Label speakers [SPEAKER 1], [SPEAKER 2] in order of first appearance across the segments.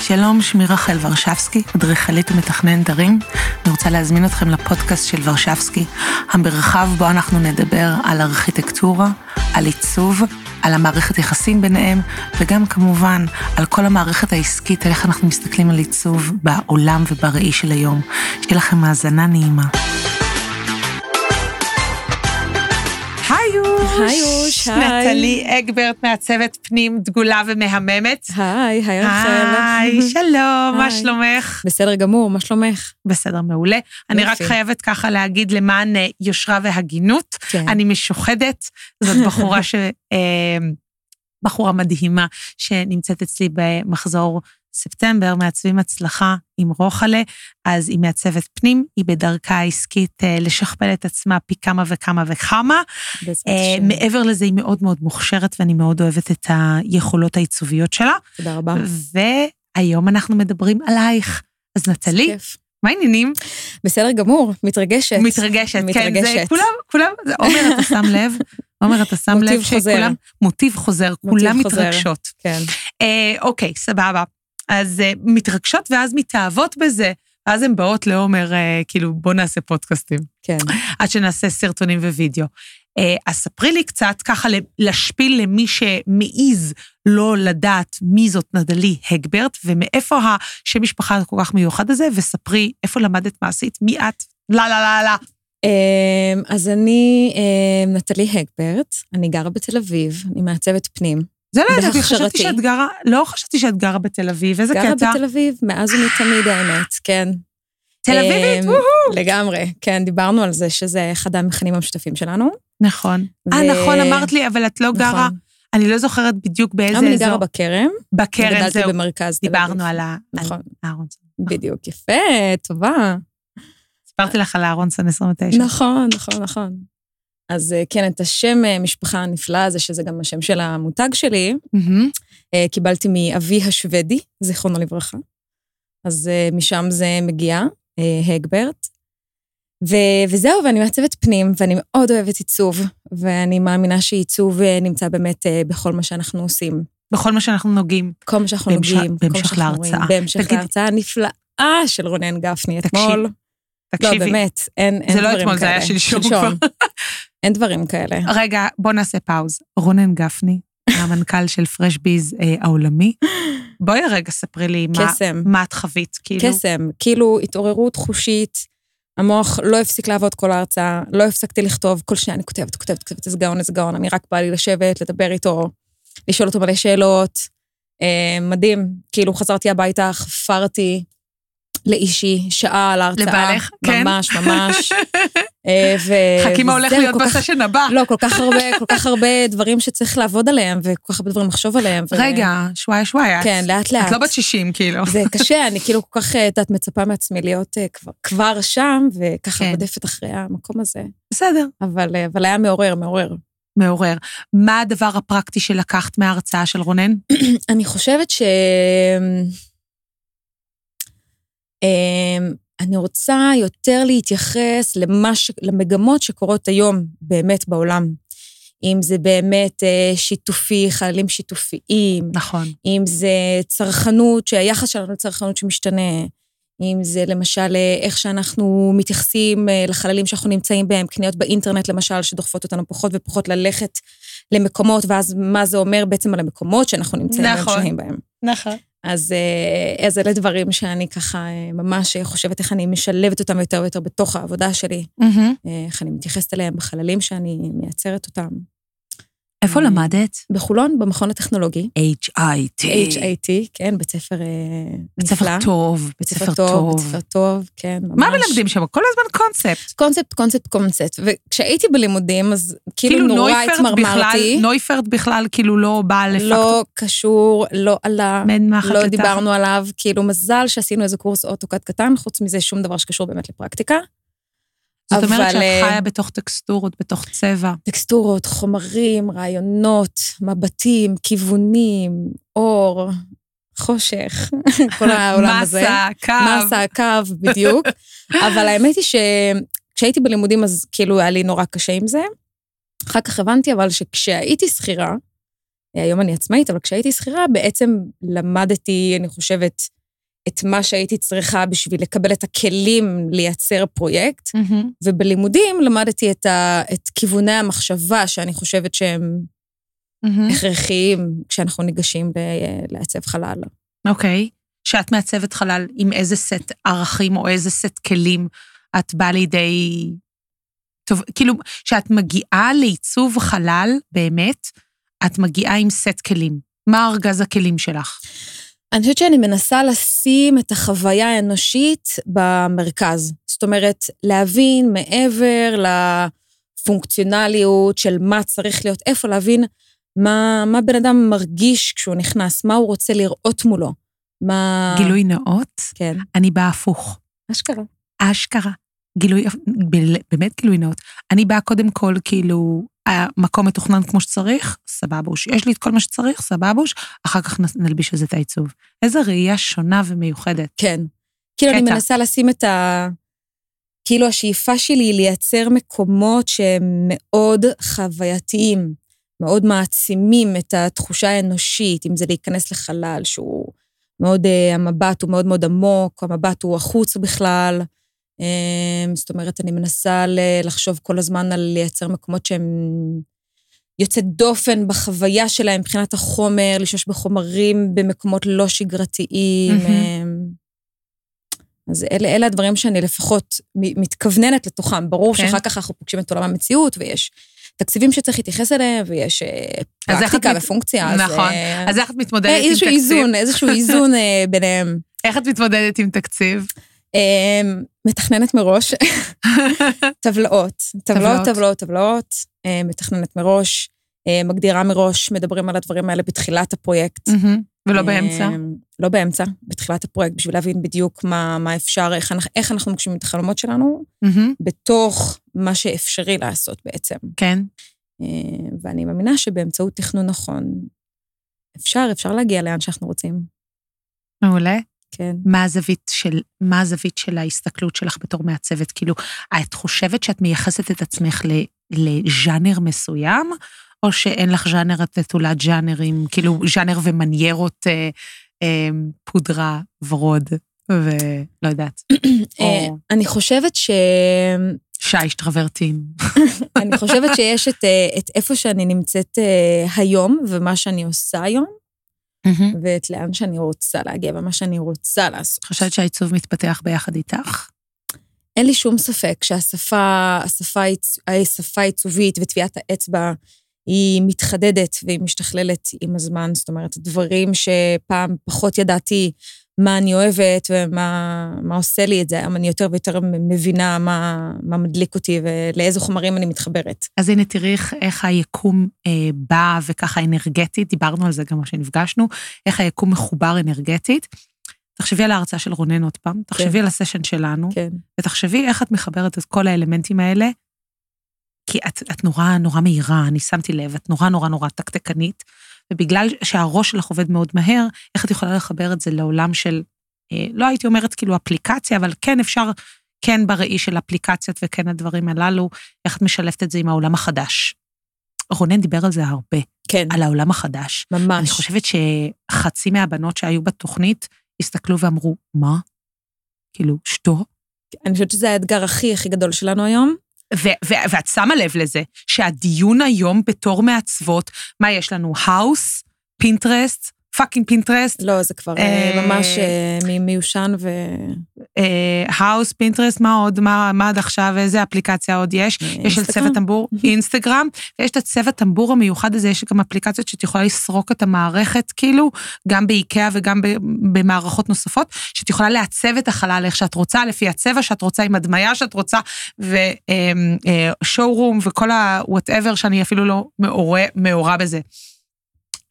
[SPEAKER 1] שלום, שמי רחל ורשבסקי, אדריכלית ומתכננת ערים. אני רוצה להזמין אתכם לפודקאסט של ורשבסקי, המרחב בו אנחנו נדבר על ארכיטקטורה, על עיצוב, על המערכת יחסים ביניהם, וגם כמובן על כל המערכת העסקית, על איך אנחנו מסתכלים על עיצוב בעולם ובראי של היום. שיהיה לכם האזנה נעימה.
[SPEAKER 2] היוש, היי.
[SPEAKER 1] נטלי אגברט מעצבת פנים דגולה ומהממת.
[SPEAKER 2] היי, היי רחל.
[SPEAKER 1] היי, שלום, מה
[SPEAKER 2] היי.
[SPEAKER 1] שלומך?
[SPEAKER 2] בסדר גמור, מה שלומך?
[SPEAKER 1] בסדר, מעולה. אני רק חייבת ככה להגיד למען אה, יושרה והגינות,
[SPEAKER 2] כן.
[SPEAKER 1] אני משוחדת, זאת בחורה ש... אה, בחורה מדהימה שנמצאת אצלי במחזור ספטמבר, מעצבים הצלחה עם רוחלה, אז היא מעצבת פנים, היא בדרכה העסקית אה, לשכפל את עצמה פי כמה וכמה וכמה.
[SPEAKER 2] בעזרת
[SPEAKER 1] אה,
[SPEAKER 2] השם.
[SPEAKER 1] מעבר לזה, היא מאוד מאוד מוכשרת, ואני מאוד אוהבת את היכולות העיצוביות שלה.
[SPEAKER 2] תודה רבה.
[SPEAKER 1] והיום אנחנו מדברים עלייך. אז נטלי,
[SPEAKER 2] כיף.
[SPEAKER 1] מה העניינים?
[SPEAKER 2] בסדר גמור, מתרגשת.
[SPEAKER 1] מתרגשת, כן, זה
[SPEAKER 2] מתרגשת.
[SPEAKER 1] כולם, כולם, זה- עומר, אתה שם לב? עומר, אתה שם
[SPEAKER 2] מוטיב
[SPEAKER 1] לב
[SPEAKER 2] חוזר.
[SPEAKER 1] שכולם, מוטיב חוזר,
[SPEAKER 2] מוטיב
[SPEAKER 1] כולם
[SPEAKER 2] חוזר.
[SPEAKER 1] מתרגשות.
[SPEAKER 2] כן,
[SPEAKER 1] אה, אוקיי, סבבה. אז אה, מתרגשות ואז מתאהבות בזה, ואז הן באות לעומר, אה, כאילו, בוא נעשה פודקאסטים.
[SPEAKER 2] כן.
[SPEAKER 1] עד שנעשה סרטונים ווידאו. אה, אז ספרי לי קצת, ככה ל- להשפיל למי שמעז לא לדעת מי זאת נדלי הגברט, ומאיפה השם משפחה הכל כך מיוחד הזה, וספרי איפה למדת מעשית, מי את, לה לה לה לה.
[SPEAKER 2] אמ, אז אני אמ, נטלי הגברט, אני גרה בתל אביב, אני מעצבת פנים.
[SPEAKER 1] זה לא ידעתי, חשבתי
[SPEAKER 2] בהכשרתי.
[SPEAKER 1] שאת גרה, לא חשבתי שאת גרה בתל אביב, איזה
[SPEAKER 2] גרה
[SPEAKER 1] קטע.
[SPEAKER 2] בתל אביב, מאז ומתמיד האמת, כן.
[SPEAKER 1] תל אביבית,
[SPEAKER 2] אמ,
[SPEAKER 1] וואו.
[SPEAKER 2] לגמרי, כן, דיברנו על זה שזה אחד המכנים המשותפים שלנו.
[SPEAKER 1] נכון. אה,
[SPEAKER 2] ו-
[SPEAKER 1] נכון, אמרת לי, אבל את לא גרה,
[SPEAKER 2] נכון.
[SPEAKER 1] אני לא זוכרת בדיוק באיזה
[SPEAKER 2] היום אני גרה
[SPEAKER 1] אזור.
[SPEAKER 2] בכרם,
[SPEAKER 1] בכרם,
[SPEAKER 2] גדלתי
[SPEAKER 1] זהו,
[SPEAKER 2] במרכז תל אביב.
[SPEAKER 1] דיברנו על ה- על
[SPEAKER 2] נכון,
[SPEAKER 1] אהרונסון.
[SPEAKER 2] בדיוק, יפה, טובה.
[SPEAKER 1] סיפרתי לך על אהרונסון 29.
[SPEAKER 2] נכון, נכון, נכון. אז אה, כן, את השם אה, משפחה הנפלא הזה, שזה גם השם של המותג שלי,
[SPEAKER 1] מהמם.
[SPEAKER 2] אה, קיבלתי מאבי השוודי, זיכרונו לברכה. אז אה, משם זה מגיע, אה, הגברט. ו- וזהו, ואני מעצבת פנים, ואני מאוד אוהבת עיצוב, ואני מאמינה שעיצוב אה, נמצא באמת אה, בכל מה שאנחנו עושים.
[SPEAKER 1] בכל מה שאנחנו נוגעים.
[SPEAKER 2] כל מה שאנחנו
[SPEAKER 1] בהמשך-
[SPEAKER 2] לומדים, כל מה
[SPEAKER 1] בהמשך
[SPEAKER 2] שאנחנו רואים.
[SPEAKER 1] להרצאה.
[SPEAKER 2] בהמשך
[SPEAKER 1] תגידי-
[SPEAKER 2] להרצאה הנפלאה של רונן גפני
[SPEAKER 1] תקשיב,
[SPEAKER 2] אתמול.
[SPEAKER 1] תקשיבי.
[SPEAKER 2] לא, באמת, אין, אין
[SPEAKER 1] זה
[SPEAKER 2] דברים
[SPEAKER 1] לא
[SPEAKER 2] כאלה.
[SPEAKER 1] אתמול, זה היה שלשום כבר.
[SPEAKER 2] אין דברים כאלה.
[SPEAKER 1] רגע, בוא נעשה פאוז. רונן גפני, המנכ"ל של פרש ביז אה, העולמי, בואי רגע ספרי לי מה,
[SPEAKER 2] קסם,
[SPEAKER 1] מה את חווית, כאילו.
[SPEAKER 2] קסם, כאילו התעוררות חושית. המוח לא הפסיק לעבוד כל ההרצאה, לא הפסקתי לכתוב, כל שניה אני כותבת, כותבת, כותבת, איזה גאון, איזה גאון, אני רק באה לי לשבת, לדבר איתו, לשאול אותו מלא שאלות. אה, מדהים, כאילו חזרתי הביתה, חפרתי לאישי, שעה על ההרצאה.
[SPEAKER 1] לבעלך, כן.
[SPEAKER 2] ממש, ממש. אה, ו-
[SPEAKER 1] חכי מה הולך
[SPEAKER 2] וזהו,
[SPEAKER 1] להיות
[SPEAKER 2] כל כך-
[SPEAKER 1] בסשן הבא.
[SPEAKER 2] לא, כל כך הרבה, כל כך הרבה דברים שצריך לעבוד עליהם, וכל כך הרבה דברים לחשוב עליהם. ו-
[SPEAKER 1] רגע, שוואיה שוואיה. את-
[SPEAKER 2] כן, לאט לאט.
[SPEAKER 1] את לא בת 60, כאילו.
[SPEAKER 2] זה קשה, אני כאילו כל כך, אה, את יודעת, מצפה מעצמי להיות אה, כבר- כבר שם, וככה
[SPEAKER 1] כן.
[SPEAKER 2] רודפת אחרי המקום הזה.
[SPEAKER 1] בסדר.
[SPEAKER 2] אבל אה, אבל היה מעורר, מעורר.
[SPEAKER 1] מעורר. מה הדבר הפרקטי שלקחת מההרצאה של רונן?
[SPEAKER 2] אני חושבת ש... אמ, אני רוצה יותר להתייחס למה ש... למגמות שקורות היום באמת בעולם. אם זה באמת אה, שיתופי, חללים שיתופיים,
[SPEAKER 1] נכון.
[SPEAKER 2] אם זה צרכנות, שהיחס שלנו לצרכנות שמשתנה, אם זה למשל אה, איך שאנחנו מתייחסים אה, לחללים שאנחנו נמצאים בהם, קניות באינטרנט למשל, שדוחפות אותנו פחות ופחות ללכת למקומות, ואז מה זה אומר בעצם על המקומות שאנחנו נמצאים בהם,
[SPEAKER 1] נכון.
[SPEAKER 2] שוהים בהם.
[SPEAKER 1] נכון.
[SPEAKER 2] אז אה, אז אלה דברים שאני ככה אה, ממש אה, חושבת איך אני משלבת אותם יותר ויותר בתוך העבודה שלי, אה, איך אני מתייחסת אליהם בחללים שאני מייצרת אותם.
[SPEAKER 1] איפה
[SPEAKER 2] אה,
[SPEAKER 1] למדת?
[SPEAKER 2] בחולון, במכון הטכנולוגי,
[SPEAKER 1] HIT.
[SPEAKER 2] HIT, כן, בית ספר אה,
[SPEAKER 1] בית
[SPEAKER 2] נפלא.
[SPEAKER 1] ספר טוב, בית ספר
[SPEAKER 2] בית
[SPEAKER 1] טוב.
[SPEAKER 2] ספר טוב, כן, ממש.
[SPEAKER 1] מה מלמדים שם? כל הזמן קונספט.
[SPEAKER 2] קונספט, קונספט, קונספט. וכשהייתי בלימודים, אז כאילו
[SPEAKER 1] כאילו
[SPEAKER 2] נורא
[SPEAKER 1] נויפרד בכלל,
[SPEAKER 2] התמרמרתי.
[SPEAKER 1] נויפרד בכלל כאילו לא בא לפקטור.
[SPEAKER 2] לא קשור, לא עלה,
[SPEAKER 1] מן מחט
[SPEAKER 2] לא
[SPEAKER 1] לתחת.
[SPEAKER 2] דיברנו עליו. כאילו, מזל שעשינו איזה קורס אוטוקאד קטן, חוץ מזה שום דבר שקשור באמת לפרקטיקה.
[SPEAKER 1] זאת אומרת
[SPEAKER 2] אבל,
[SPEAKER 1] שאת
[SPEAKER 2] אה,
[SPEAKER 1] חיה בתוך טקסטורות, בתוך צבע.
[SPEAKER 2] טקסטורות, חומרים, רעיונות, מבטים, כיוונים, אור, חושך, כל העולם הזה.
[SPEAKER 1] מסה, קו.
[SPEAKER 2] מסה, הקו, בדיוק. אבל האמת היא שכשהייתי בלימודים, אז כאילו היה לי נורא קשה עם זה. אחר כך הבנתי אבל שכשהייתי שכירה, היום אני עצמאית, אבל כשהייתי שכירה, בעצם למדתי, אני חושבת, את מה שהייתי צריכה בשביל לקבל את הכלים לייצר פרויקט, ובלימודים למדתי את, ה, את כיווני המחשבה שאני חושבת שהם
[SPEAKER 1] Mm-hmm.
[SPEAKER 2] הכרחיים כשאנחנו ניגשים ל- אה, לעצב חלל.
[SPEAKER 1] אוקיי. שאת מעצבת חלל, עם איזה סט ערכים או איזה סט כלים את באה לידי... טוב, כאילו, כשאת מגיעה לעיצוב חלל, באמת, את מגיעה עם סט כלים. מה ארגז הכלים שלך?
[SPEAKER 2] אני חושבת שאני מנסה לשים את החוויה האנושית במרכז. זאת אומרת, להבין מעבר לפונקציונליות של מה צריך להיות איפה, להבין מה, מה בן אדם מרגיש כשהוא נכנס, מה הוא רוצה לראות מולו. מה...
[SPEAKER 1] גילוי נאות,
[SPEAKER 2] כן.
[SPEAKER 1] אני באה הפוך.
[SPEAKER 2] אשכרה.
[SPEAKER 1] אשכרה. גילוי, בל- באמת גילוי נאות. אני באה קודם כל, כאילו, המקום מתוכנן כמו שצריך, סבבוש. יש לי את כל מה שצריך, סבבוש, אחר כך נ- נלביש על זה את העיצוב. איזו ראייה שונה ומיוחדת.
[SPEAKER 2] כן. כאילו, אני
[SPEAKER 1] קטע.
[SPEAKER 2] מנסה לשים את ה... כאילו, השאיפה שלי היא לייצר מקומות שהם מאוד חווייתיים, מאוד מעצימים את התחושה האנושית, אם זה להיכנס לחלל שהוא מאוד, אה, המבט הוא מאוד מאוד עמוק, המבט הוא החוץ בכלל. אה, זאת אומרת, אני מנסה ל- לחשוב כל הזמן על לייצר מקומות שהם יוצאת דופן בחוויה שלהם מבחינת החומר, לשלוש בחומרים במקומות לא שגרתיים.
[SPEAKER 1] מהמם.
[SPEAKER 2] אה, אז אלה, אלה הדברים שאני לפחות מ- מתכווננת לתוכם. ברור
[SPEAKER 1] כן.
[SPEAKER 2] שאחר כך אנחנו פוגשים את עולם המציאות, ויש תקציבים שצריך להתייחס אליהם, ויש אה,
[SPEAKER 1] אז איך את
[SPEAKER 2] פרקטיקה
[SPEAKER 1] מת-
[SPEAKER 2] ופונקציה. אז,
[SPEAKER 1] נכון.
[SPEAKER 2] אה,
[SPEAKER 1] אז איך את מתמודדת
[SPEAKER 2] אה,
[SPEAKER 1] עם
[SPEAKER 2] איזשהו
[SPEAKER 1] תקציב?
[SPEAKER 2] איזון, איזשהו איזון אה, ביניהם.
[SPEAKER 1] איך את מתמודדת עם תקציב?
[SPEAKER 2] אה, מתכננת מראש, טבלאות,
[SPEAKER 1] טבלאות.
[SPEAKER 2] טבלאות, טבלאות, טבלאות, אה, מתכננת מראש, אה, מגדירה מראש, מדברים על הדברים האלה בתחילת הפרויקט.
[SPEAKER 1] מהמם. ולא Mm, באמצע?
[SPEAKER 2] אה, לא באמצע, בתחילת הפרויקט, בשביל להבין בדיוק מה, מה אפשר, איך, אנחנו- איך אנחנו מגשימים את החלומות שלנו,
[SPEAKER 1] מהמם.
[SPEAKER 2] בתוך מה שאפשרי לעשות בעצם.
[SPEAKER 1] כן.
[SPEAKER 2] אה, ואני מאמינה שבאמצעות תכנון נכון, אפשר, אפשר להגיע לאן שאנחנו רוצים.
[SPEAKER 1] מעולה.
[SPEAKER 2] כן.
[SPEAKER 1] מה הזווית של, מה הזווית של ההסתכלות שלך בתור מעצבת? כאילו, את חושבת שאת מייחסת את עצמך ל, לז'אנר מסוים, או שאין לך ז'אנר, את נטולת ז'אנרים, כאילו, ז'אנר ומניירות אה, אה, פודרה, ורוד, ולא יודעת,
[SPEAKER 2] אה, אני חושבת ש...
[SPEAKER 1] שיש טרוורטין.
[SPEAKER 2] אני חושבת שיש את, אה, את איפה שאני נמצאת אה, היום, ומה שאני עושה היום, ואת לאן שאני רוצה להגיע, ומה שאני רוצה לעשות.
[SPEAKER 1] את חושבת שהעיצוב מתפתח ביחד איתך?
[SPEAKER 2] אין לי שום ספק שהשפה, השפה, העיצ- השפה העיצובית וטביעת האצבע היא מתחדדת והיא משתכללת עם הזמן. זאת אומרת, דברים שפעם פחות ידעתי מה אני אוהבת ומה מה עושה לי את זה, היום אני יותר ויותר מבינה מה, מה מדליק אותי ולאיזה חומרים אני מתחברת.
[SPEAKER 1] אז הנה, תראי איך- איך היקום אה, בא וככה אנרגטית, דיברנו על זה גם כשנפגשנו, איך היקום מחובר אנרגטית. תחשבי על ההרצאה של רונן עוד פעם, תחשבי על הסשן שלנו,
[SPEAKER 2] כן.
[SPEAKER 1] ותחשבי איך את מחברת את כל האלמנטים האלה, כי את, את נורא נורא מהירה, אני שמתי לב, את נורא נורא נורא תקתקנית, ובגלל שהראש שלך עובד מאוד מהר, איך את יכולה לחבר את זה לעולם של, אה, לא הייתי אומרת כאילו אפליקציה, אבל כן אפשר, כן בראי של אפליקציות וכן הדברים הללו, איך את משלבת את זה עם העולם החדש. רונן דיבר על זה הרבה,
[SPEAKER 2] כן,
[SPEAKER 1] על העולם החדש.
[SPEAKER 2] ממש.
[SPEAKER 1] אני חושבת שחצי מהבנות שהיו בתוכנית הסתכלו ואמרו, מה? כאילו, שטו?
[SPEAKER 2] אני חושבת שזה האתגר הכי הכי גדול שלנו היום.
[SPEAKER 1] ו- ו- ואת שמה לב לזה, שהדיון היום בתור מעצבות, מה יש לנו? האוס, פינטרסט, פאקינג פינטרסט,
[SPEAKER 2] לא, זה כבר אה,
[SPEAKER 1] אה,
[SPEAKER 2] ממש אה, מ- מיושן ו...
[SPEAKER 1] אה, האוס, פינטרסט, מה עוד, מה, מה עד עכשיו, איזה אפליקציה עוד יש? יש על
[SPEAKER 2] אינסטגרם.
[SPEAKER 1] צוות טמבור, אינסטגרם, ויש את הצוות טמבור המיוחד הזה, יש גם אפליקציות שאת יכולה לסרוק את המערכת, כאילו, גם באיקאה וגם ב- במערכות נוספות, שאת יכולה לעצב את החלל איך שאת רוצה, לפי הצבע שאת רוצה, עם הדמיה שאת רוצה, ושואורום וכל ה-whatever שאני אפילו לא מעורה- מעורה בזה.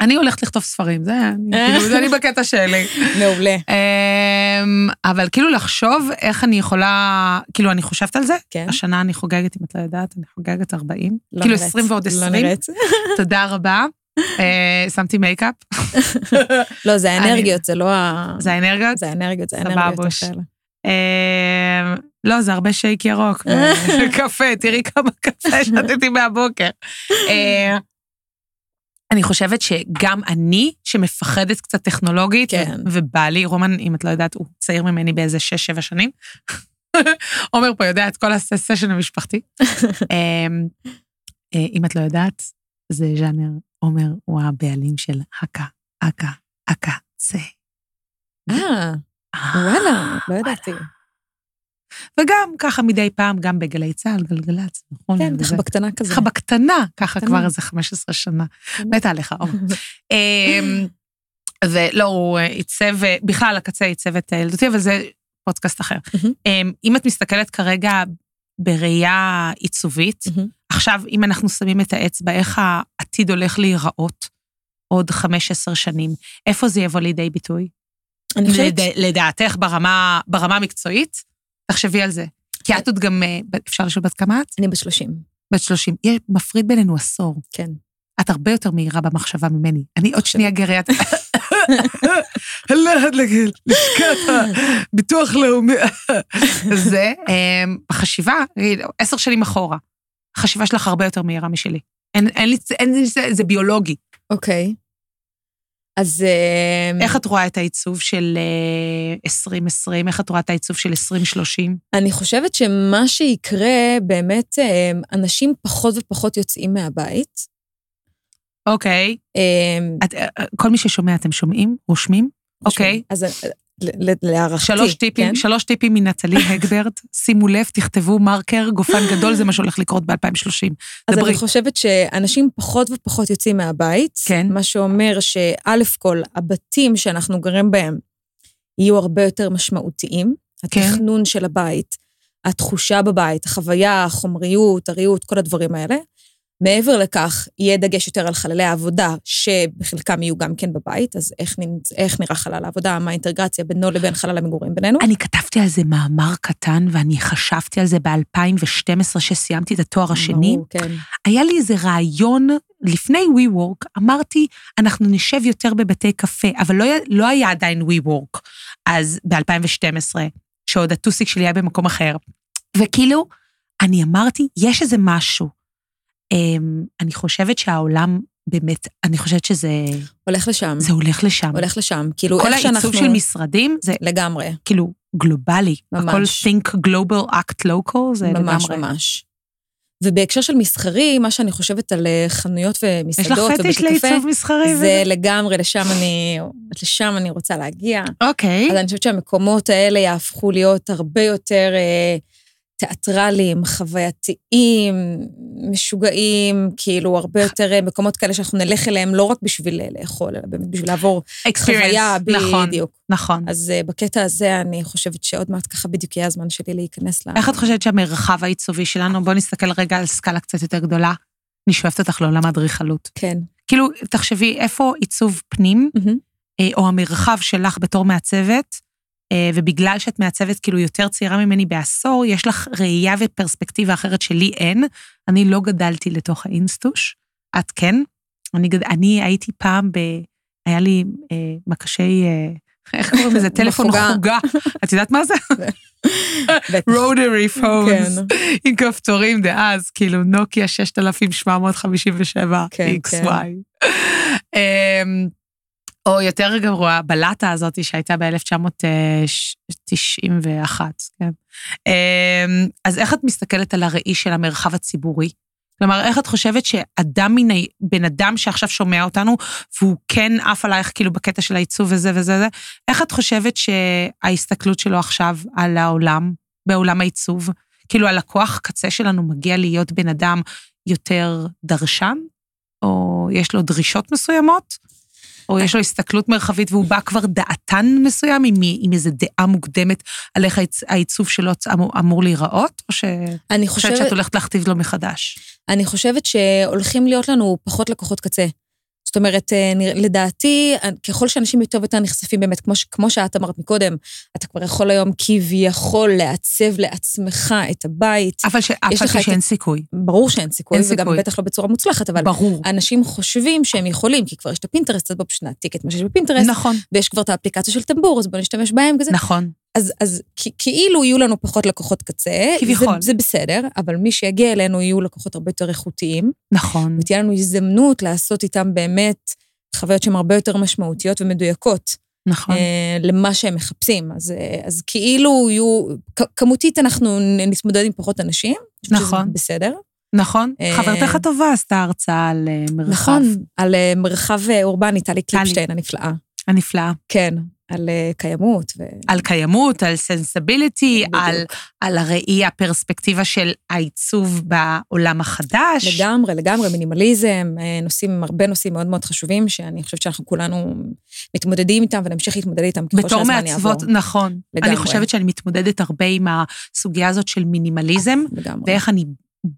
[SPEAKER 1] אני הולכת לכתוב ספרים, זה אני, כאילו, זה אני בקטע שלי.
[SPEAKER 2] מעולה.
[SPEAKER 1] אמ, אבל כאילו לחשוב איך אני יכולה, כאילו אני חושבת על זה,
[SPEAKER 2] כן.
[SPEAKER 1] השנה אני חוגגת, אם את לא יודעת, אני חוגגת 40.
[SPEAKER 2] לא
[SPEAKER 1] כאילו
[SPEAKER 2] נראית,
[SPEAKER 1] 20 ועוד 20.
[SPEAKER 2] לא נראית.
[SPEAKER 1] תודה רבה. אה, שמתי מייקאפ.
[SPEAKER 2] לא, זה
[SPEAKER 1] אני-
[SPEAKER 2] האנרגיות, זה לא ה...
[SPEAKER 1] זה האנרגיות?
[SPEAKER 2] זה האנרגיות, זה
[SPEAKER 1] סבבה,
[SPEAKER 2] האנרגיות.
[SPEAKER 1] בוש.
[SPEAKER 2] האלה.
[SPEAKER 1] אמ, לא, זה הרבה שייק ירוק. קפה, תראי כמה קפה שתיתי מהבוקר. אה, אמ, אני חושבת שגם אני, שמפחדת קצת טכנולוגית,
[SPEAKER 2] כן.
[SPEAKER 1] ובעלי, רומן, אם את לא יודעת, הוא צעיר ממני באיזה שש-שבע שנים. עומר פה יודע את כל הסשן המשפחתי. אמ, אה, אם את לא יודעת, זה ז'אנר, עומר הוא הבעלים של הקה, אקה, אקה, צה.
[SPEAKER 2] אה, וואלה, לא ידעתי.
[SPEAKER 1] וגם ככה מדי פעם, גם בגלי צה"ל, גלגלצ, נכון?
[SPEAKER 2] כן,
[SPEAKER 1] וזה-
[SPEAKER 2] ככה בקטנה כזה.
[SPEAKER 1] ככה בקטנה, ככה
[SPEAKER 2] קטנה.
[SPEAKER 1] כבר איזה 15 שנה.
[SPEAKER 2] קטנה.
[SPEAKER 1] מתה עליך,
[SPEAKER 2] אוקיי.
[SPEAKER 1] עומר. אמ, ולא, הוא אה, עיצב, אה, בכלל, הקצה עיצב את אה, ילדותי, אבל זה פודקאסט אחר.
[SPEAKER 2] מהמם.
[SPEAKER 1] אמ, אם את מסתכלת כרגע בראייה עיצובית,
[SPEAKER 2] מהמם.
[SPEAKER 1] עכשיו, אם אנחנו שמים את האצבע, איך העתיד הולך להיראות עוד 15 שנים, איפה זה יבוא לידי ביטוי?
[SPEAKER 2] אני חושבת,
[SPEAKER 1] לד- לדעתך, ברמה ברמה המקצועית? תחשבי על זה. כי את עוד גם, אה, ב- אפשר לשאול בת כמה את?
[SPEAKER 2] אני בת 30,
[SPEAKER 1] בת 30. יש- מפריד בינינו עשור.
[SPEAKER 2] כן.
[SPEAKER 1] את הרבה יותר מהירה במחשבה ממני. אני עוד שנייה גריית... הלכת ללשכת הביטוח לאומי. זה אמ, בחשיבה, אה, עשר שנים אחורה. החשיבה שלך הרבה יותר מהירה משלי. אין, אין לי, אין לי, זה, זה ביולוגי.
[SPEAKER 2] אוקיי. אז... אה,
[SPEAKER 1] איך את רואה את העיצוב של אה, 2020? איך את רואה את העיצוב של 2030?
[SPEAKER 2] אני חושבת שמה שיקרה, באמת, אה, אנשים פחות ופחות יוצאים מהבית.
[SPEAKER 1] אוקיי.
[SPEAKER 2] אה,
[SPEAKER 1] את, אה, אה, כל מי ששומע, אתם שומעים? רושמים? אוקיי.
[SPEAKER 2] אז אה, ל- ל- להערכתי,
[SPEAKER 1] שלוש טיפים,
[SPEAKER 2] כן?
[SPEAKER 1] שלוש טיפים מנטלי הגברט. שימו לב, תכתבו מרקר, גופן גדול, זה מה שהולך לקרות ב-2030.
[SPEAKER 2] אז
[SPEAKER 1] דברי.
[SPEAKER 2] אני חושבת שאנשים פחות ופחות יוצאים מהבית,
[SPEAKER 1] כן.
[SPEAKER 2] מה שאומר שא' כל, הבתים שאנחנו גרים בהם יהיו הרבה יותר משמעותיים.
[SPEAKER 1] כן.
[SPEAKER 2] התכנון של הבית, התחושה בבית, החוויה, החומריות, הריהוט, כל הדברים האלה. מעבר לכך, יהיה דגש יותר על חללי העבודה, שבחלקם יהיו גם כן בבית, אז איך, נמצ... איך נראה חלל העבודה, מה האינטגרציה בינו לבין חלל המגורים בינינו.
[SPEAKER 1] אני כתבתי על זה מאמר קטן, ואני חשבתי על זה ב-2012, שסיימתי את התואר השני.
[SPEAKER 2] ברור, כן.
[SPEAKER 1] היה לי איזה רעיון לפני WeWork, אמרתי, אנחנו נשב יותר בבתי קפה, אבל לא, היה- לא היה עדיין WeWork, אז ב-2012, שעוד הטוסיק שלי היה במקום אחר. וכאילו, אני אמרתי, יש איזה משהו. אמ, אני חושבת שהעולם באמת, אני חושבת שזה
[SPEAKER 2] הולך לשם,
[SPEAKER 1] זה הולך לשם.
[SPEAKER 2] הולך לשם. כאילו,
[SPEAKER 1] כל
[SPEAKER 2] איך
[SPEAKER 1] העיצוב
[SPEAKER 2] שאנחנו...
[SPEAKER 1] של משרדים זה
[SPEAKER 2] לגמרי.
[SPEAKER 1] כאילו גלובלי.
[SPEAKER 2] ממש.
[SPEAKER 1] הכל think global act local, זה לגמרי.
[SPEAKER 2] ממש ממש. ובהקשר של מסחרי, מה שאני חושבת על אה, חנויות
[SPEAKER 1] יש לך
[SPEAKER 2] ומסעדות ובתי
[SPEAKER 1] פטיש
[SPEAKER 2] קפה,
[SPEAKER 1] לעיצוב מסחרי?
[SPEAKER 2] זה לגמרי, לשם אני, לשם אני רוצה להגיע.
[SPEAKER 1] אוקיי.
[SPEAKER 2] אז אני חושבת שהמקומות האלה יהפכו להיות הרבה יותר אה, תיאטרליים, חווייתיים, משוגעים, כאילו הרבה יותר אה, מקומות כאלה שאנחנו נלך אליהם לא רק בשביל אה, לאכול, אלא באמת בשביל לעבור חוויה,
[SPEAKER 1] experience, נכון,
[SPEAKER 2] בדיוק.
[SPEAKER 1] נכון.
[SPEAKER 2] אז אה, בקטע הזה אני חושבת שעוד מעט ככה בדיוק יהיה הזמן שלי להיכנס ל...
[SPEAKER 1] איך את חושבת שהמרחב העיצובי שלנו, בואו נסתכל רגע על סקאלה קצת יותר גדולה, אני שואפת אותך לעולם האדריכלות.
[SPEAKER 2] כן.
[SPEAKER 1] כאילו, תחשבי, איפה עיצוב פנים,
[SPEAKER 2] מהמם.
[SPEAKER 1] אה, או המרחב שלך בתור מעצבת, אה, ובגלל שאת מעצבת כאילו יותר צעירה ממני בעשור, יש לך ראייה ופרספקטיבה אחרת שלי אין. אני לא גדלתי לתוך האינסטוש, את כן. אני, גד... אני הייתי פעם ב... היה לי אה, מקשי... אה, איך קוראים לזה? טלפון
[SPEAKER 2] בחוגה.
[SPEAKER 1] חוגה. את יודעת מה זה?
[SPEAKER 2] בטח.
[SPEAKER 1] רודרי פונס.
[SPEAKER 2] כן.
[SPEAKER 1] עם כפתורים דאז, כאילו נוקיה 6757
[SPEAKER 2] כן,
[SPEAKER 1] XY. אמ, או יותר גרוע, בלטה הזאת שהייתה ב-1991, כן. אמ, אז איך את מסתכלת על הראי של המרחב הציבורי? כלומר, איך את חושבת שאדם מן ה... בן אדם שעכשיו שומע אותנו, והוא כן עף עלייך כאילו בקטע של העיצוב וזה וזה וזה, איך את חושבת שההסתכלות שלו עכשיו על העולם, בעולם העיצוב, כאילו הלקוח קצה שלנו מגיע להיות בן אדם יותר דרשן, או יש לו דרישות מסוימות, או יש לו הסתכלות מרחבית והוא בא כבר דעתן מסוים עם, עם איזו דעה מוקדמת על איך העיצ- העיצוב שלו צ- אמור, אמור להיראות, או שאת
[SPEAKER 2] אני
[SPEAKER 1] חושבת
[SPEAKER 2] חושבת,
[SPEAKER 1] שאת הולכת להכתיב לו מחדש?
[SPEAKER 2] אני חושבת שהולכים להיות לנו פחות לקוחות קצה. זאת אומרת, אה, נראה- לדעתי, אה, ככל שאנשים יותר ויותר נחשפים באמת, כמו, ש- כמו שאת אמרת מקודם, אתה כבר יכול היום כביכול לעצב לעצמך את הבית.
[SPEAKER 1] אבל ש... אף
[SPEAKER 2] יש
[SPEAKER 1] על
[SPEAKER 2] לך
[SPEAKER 1] פי
[SPEAKER 2] את-
[SPEAKER 1] שאין סיכוי,
[SPEAKER 2] ברור שאין סיכוי,
[SPEAKER 1] אין
[SPEAKER 2] וגם
[SPEAKER 1] סיכוי.
[SPEAKER 2] בטח לא בצורה מוצלחת, אבל
[SPEAKER 1] ברור.
[SPEAKER 2] אנשים חושבים שהם יכולים, כי כבר יש את הפינטרסט, אז בואו פשוט נעתיק את מה שיש בפינטרסט,
[SPEAKER 1] נכון,
[SPEAKER 2] ויש כבר את האפליקציה של טמבור, אז בואו נשתמש בהם כזה.
[SPEAKER 1] נכון.
[SPEAKER 2] אז, אז כ- כאילו יהיו לנו פחות לקוחות קצה.
[SPEAKER 1] כביכול.
[SPEAKER 2] זה, זה בסדר, אבל מי שיגיע אלינו יהיו לקוחות הרבה יותר איכותיים,
[SPEAKER 1] נכון.
[SPEAKER 2] ותהיה לנו הזדמנות לעשות איתם באמת חוויות שהן הרבה יותר משמעותיות ומדויקות
[SPEAKER 1] נכון.
[SPEAKER 2] אה, למה שהם מחפשים. אז, אה, אז כאילו יהיו, כ- כמותית אנחנו נ- נתמודד עם פחות אנשים. אני חושבת שזה
[SPEAKER 1] נכון.
[SPEAKER 2] בסדר.
[SPEAKER 1] נכון.
[SPEAKER 2] אה,
[SPEAKER 1] חברתך הטובה עשתה הרצאה על אה, מרחב.
[SPEAKER 2] נכון, על אה, מרחב אה, אורבני, טלי קליפשטיין הנפלאה.
[SPEAKER 1] הנפלאה.
[SPEAKER 2] כן, על אה, קיימות. ו...
[SPEAKER 1] על קיימות, על סנסיביליטי,
[SPEAKER 2] כן, בדיוק.
[SPEAKER 1] על, על הראי, הפרספקטיבה של העיצוב בעולם החדש.
[SPEAKER 2] לגמרי, לגמרי, מינימליזם, אה, נושאים, הרבה נושאים מאוד מאוד חשובים, שאני חושבת שאנחנו כולנו מתמודדים איתם ונמשיך להתמודד איתם ככל
[SPEAKER 1] בתור
[SPEAKER 2] שהזמן יעבור.
[SPEAKER 1] מעצבות, נכון.
[SPEAKER 2] לגמרי.
[SPEAKER 1] אני חושבת שאני מתמודדת הרבה עם הסוגיה הזאת של מינימליזם,
[SPEAKER 2] לגמרי.
[SPEAKER 1] ואיך אני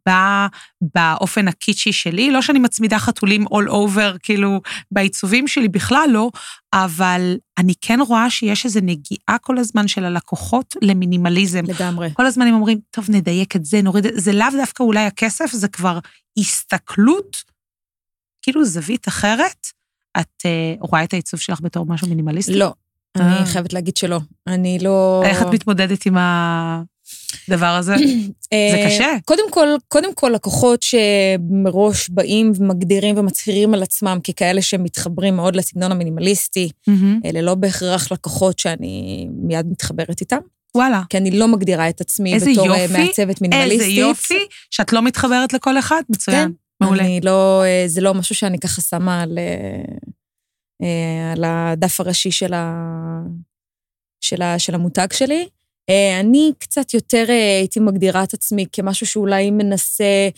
[SPEAKER 1] באה באופן הקיצ'י שלי. לא שאני מצמידה חתולים all over, כאילו, בעיצובים שלי, בכלל לא, אבל אני כן רואה שיש איזו נגיעה כל הזמן של הלקוחות למינימליזם.
[SPEAKER 2] לגמרי.
[SPEAKER 1] כל הזמן הם אומרים, טוב, נדייק את זה, נוריד את זה. זה לאו דווקא אולי הכסף, זה כבר הסתכלות, כאילו זווית אחרת. את אה, רואה את העיצוב שלך בתור משהו מינימליסטי?
[SPEAKER 2] לא,
[SPEAKER 1] אה.
[SPEAKER 2] אני חייבת להגיד שלא. אני לא...
[SPEAKER 1] איך את מתמודדת עם הדבר הזה?
[SPEAKER 2] אה,
[SPEAKER 1] זה קשה.
[SPEAKER 2] קודם כל, קודם כל, לקוחות שמראש באים ומגדירים ומצהירים על עצמם ככאלה שמתחברים מאוד לסגנון המינימליסטי,
[SPEAKER 1] מהמם.
[SPEAKER 2] אלה לא בהכרח לקוחות שאני מיד מתחברת איתם,
[SPEAKER 1] וואלה.
[SPEAKER 2] כי אני לא מגדירה את עצמי
[SPEAKER 1] איזה
[SPEAKER 2] בתור אה,
[SPEAKER 1] יופי,
[SPEAKER 2] מעצבת מינימליסטית.
[SPEAKER 1] איזה יופי שאת לא מתחברת לכל אחד, מצוין.
[SPEAKER 2] כן.
[SPEAKER 1] מעולה.
[SPEAKER 2] אני לא, אה, זה לא משהו שאני ככה שמה על, אה, אה, על הדף הראשי של, ה, של, ה, של המותג שלי. אה, אני קצת יותר אה, הייתי מגדירה את עצמי כמשהו שאולי מנסה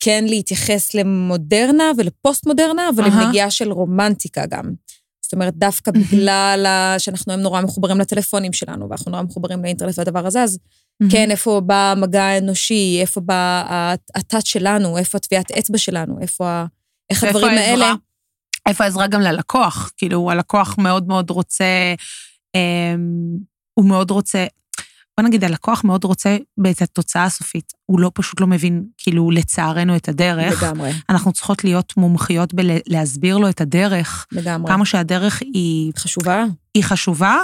[SPEAKER 2] כן להתייחס למודרנה ולפוסט-מודרנה, אבל עם
[SPEAKER 1] אהה.
[SPEAKER 2] נגיעה של רומנטיקה גם. זאת אומרת, דווקא בגלל ה- שאנחנו היום נורא מחוברים לטלפונים שלנו, ואנחנו נורא מחוברים לאינטרנט והדבר הזה, אז
[SPEAKER 1] Mm-hmm.
[SPEAKER 2] כן, איפה בא המגע האנושי, איפה בא ה- הטאט שלנו, איפה הטביעת אצבע שלנו, איפה ה... איך
[SPEAKER 1] ואיפה
[SPEAKER 2] הדברים
[SPEAKER 1] העזרה?
[SPEAKER 2] האלה...
[SPEAKER 1] איפה העזרה גם ללקוח? כאילו, הלקוח מאוד מאוד רוצה, אמ, הוא מאוד רוצה, בוא נגיד, הלקוח מאוד רוצה את התוצאה הסופית. הוא לא, פשוט לא מבין, כאילו, לצערנו את הדרך.
[SPEAKER 2] לגמרי,
[SPEAKER 1] אנחנו צריכות להיות מומחיות בלהסביר לו את הדרך,
[SPEAKER 2] לגמרי.
[SPEAKER 1] כמה שהדרך היא
[SPEAKER 2] חשובה?
[SPEAKER 1] היא חשובה,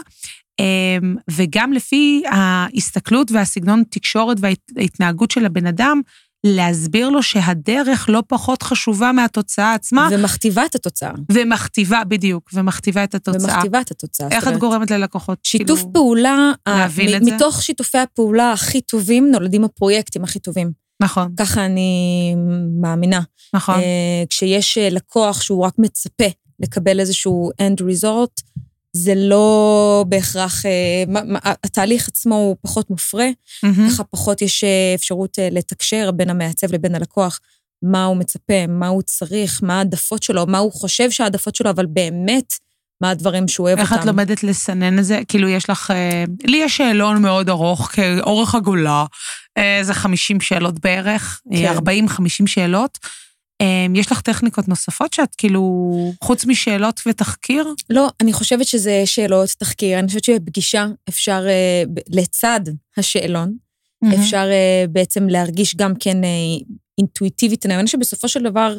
[SPEAKER 1] אמ, וגם לפי ההסתכלות והסגנון תקשורת וההתנהגות של הבן אדם, להסביר לו שהדרך לא פחות חשובה מהתוצאה עצמה,
[SPEAKER 2] ומכתיבה את התוצאה.
[SPEAKER 1] ומכתיבה, בדיוק, ומכתיבה את התוצאה.
[SPEAKER 2] ומכתיבה את התוצאה.
[SPEAKER 1] איך
[SPEAKER 2] זאת
[SPEAKER 1] את
[SPEAKER 2] אומרת,
[SPEAKER 1] גורמת ללקוחות?
[SPEAKER 2] שיתוף
[SPEAKER 1] כאילו,
[SPEAKER 2] פעולה, ה-
[SPEAKER 1] להבין
[SPEAKER 2] מ-
[SPEAKER 1] את זה?
[SPEAKER 2] מתוך שיתופי הפעולה הכי טובים נולדים הפרויקטים הכי טובים.
[SPEAKER 1] נכון,
[SPEAKER 2] ככה אני מאמינה.
[SPEAKER 1] נכון.
[SPEAKER 2] אה, כשיש אה, לקוח שהוא רק מצפה לקבל איזשהו end result, זה לא בהכרח, אה, מה- מה- התהליך עצמו הוא פחות מופרה,
[SPEAKER 1] מהמם.
[SPEAKER 2] ככה פחות יש אה, אפשרות אה, לתקשר בין המעצב לבין הלקוח, מה הוא מצפה, מה הוא צריך, מה העדפות שלו, מה הוא חושב שהעדפות שלו, אבל באמת, מה הדברים שהוא אוהב
[SPEAKER 1] איך
[SPEAKER 2] אותם.
[SPEAKER 1] את לומדת לסנן את זה? כאילו, יש לך... אה, לי יש שאלון מאוד ארוך, כאורך הגולה, אה, איזה 50 שאלות בערך,
[SPEAKER 2] כן.
[SPEAKER 1] אה, 40-50 שאלות. אה, יש לך טכניקות נוספות שאת כאילו, חוץ משאלות ותחקיר?
[SPEAKER 2] לא, אני חושבת שזה שאלות, תחקיר, אני חושבת שבפגישה אפשר, אה, ב- לצד השאלון,
[SPEAKER 1] Mm-hmm.
[SPEAKER 2] אפשר אה, בעצם להרגיש גם כן אה, אינטואיטיבית. אני מאמינה שבסופו של דבר,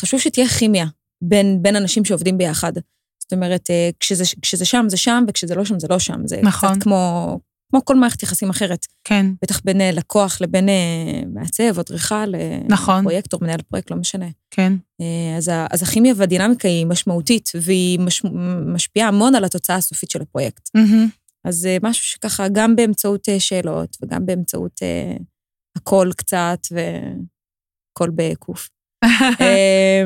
[SPEAKER 2] חשוב שתהיה כימיה בין, בין אנשים שעובדים ביחד. זאת אומרת, אה, כשזה, כשזה שם, זה שם, וכשזה לא שם, זה לא שם. זה
[SPEAKER 1] נכון.
[SPEAKER 2] קצת כמו, כמו כל מערכת יחסים אחרת,
[SPEAKER 1] כן,
[SPEAKER 2] בטח בין אה, לקוח לבין אה, מעצב, אדריכל, אה,
[SPEAKER 1] נכון.
[SPEAKER 2] פרויקטור, מנהל פרויקט, לא משנה.
[SPEAKER 1] כן.
[SPEAKER 2] אה, אז, ה- אז הכימיה והדינמיקה היא משמעותית, והיא מש, משפיעה המון על התוצאה הסופית של הפרויקט.
[SPEAKER 1] מהמם.
[SPEAKER 2] אז זה משהו שככה, גם באמצעות אה, שאלות וגם באמצעות אה, הקול קצת, וקול בקוף. אה,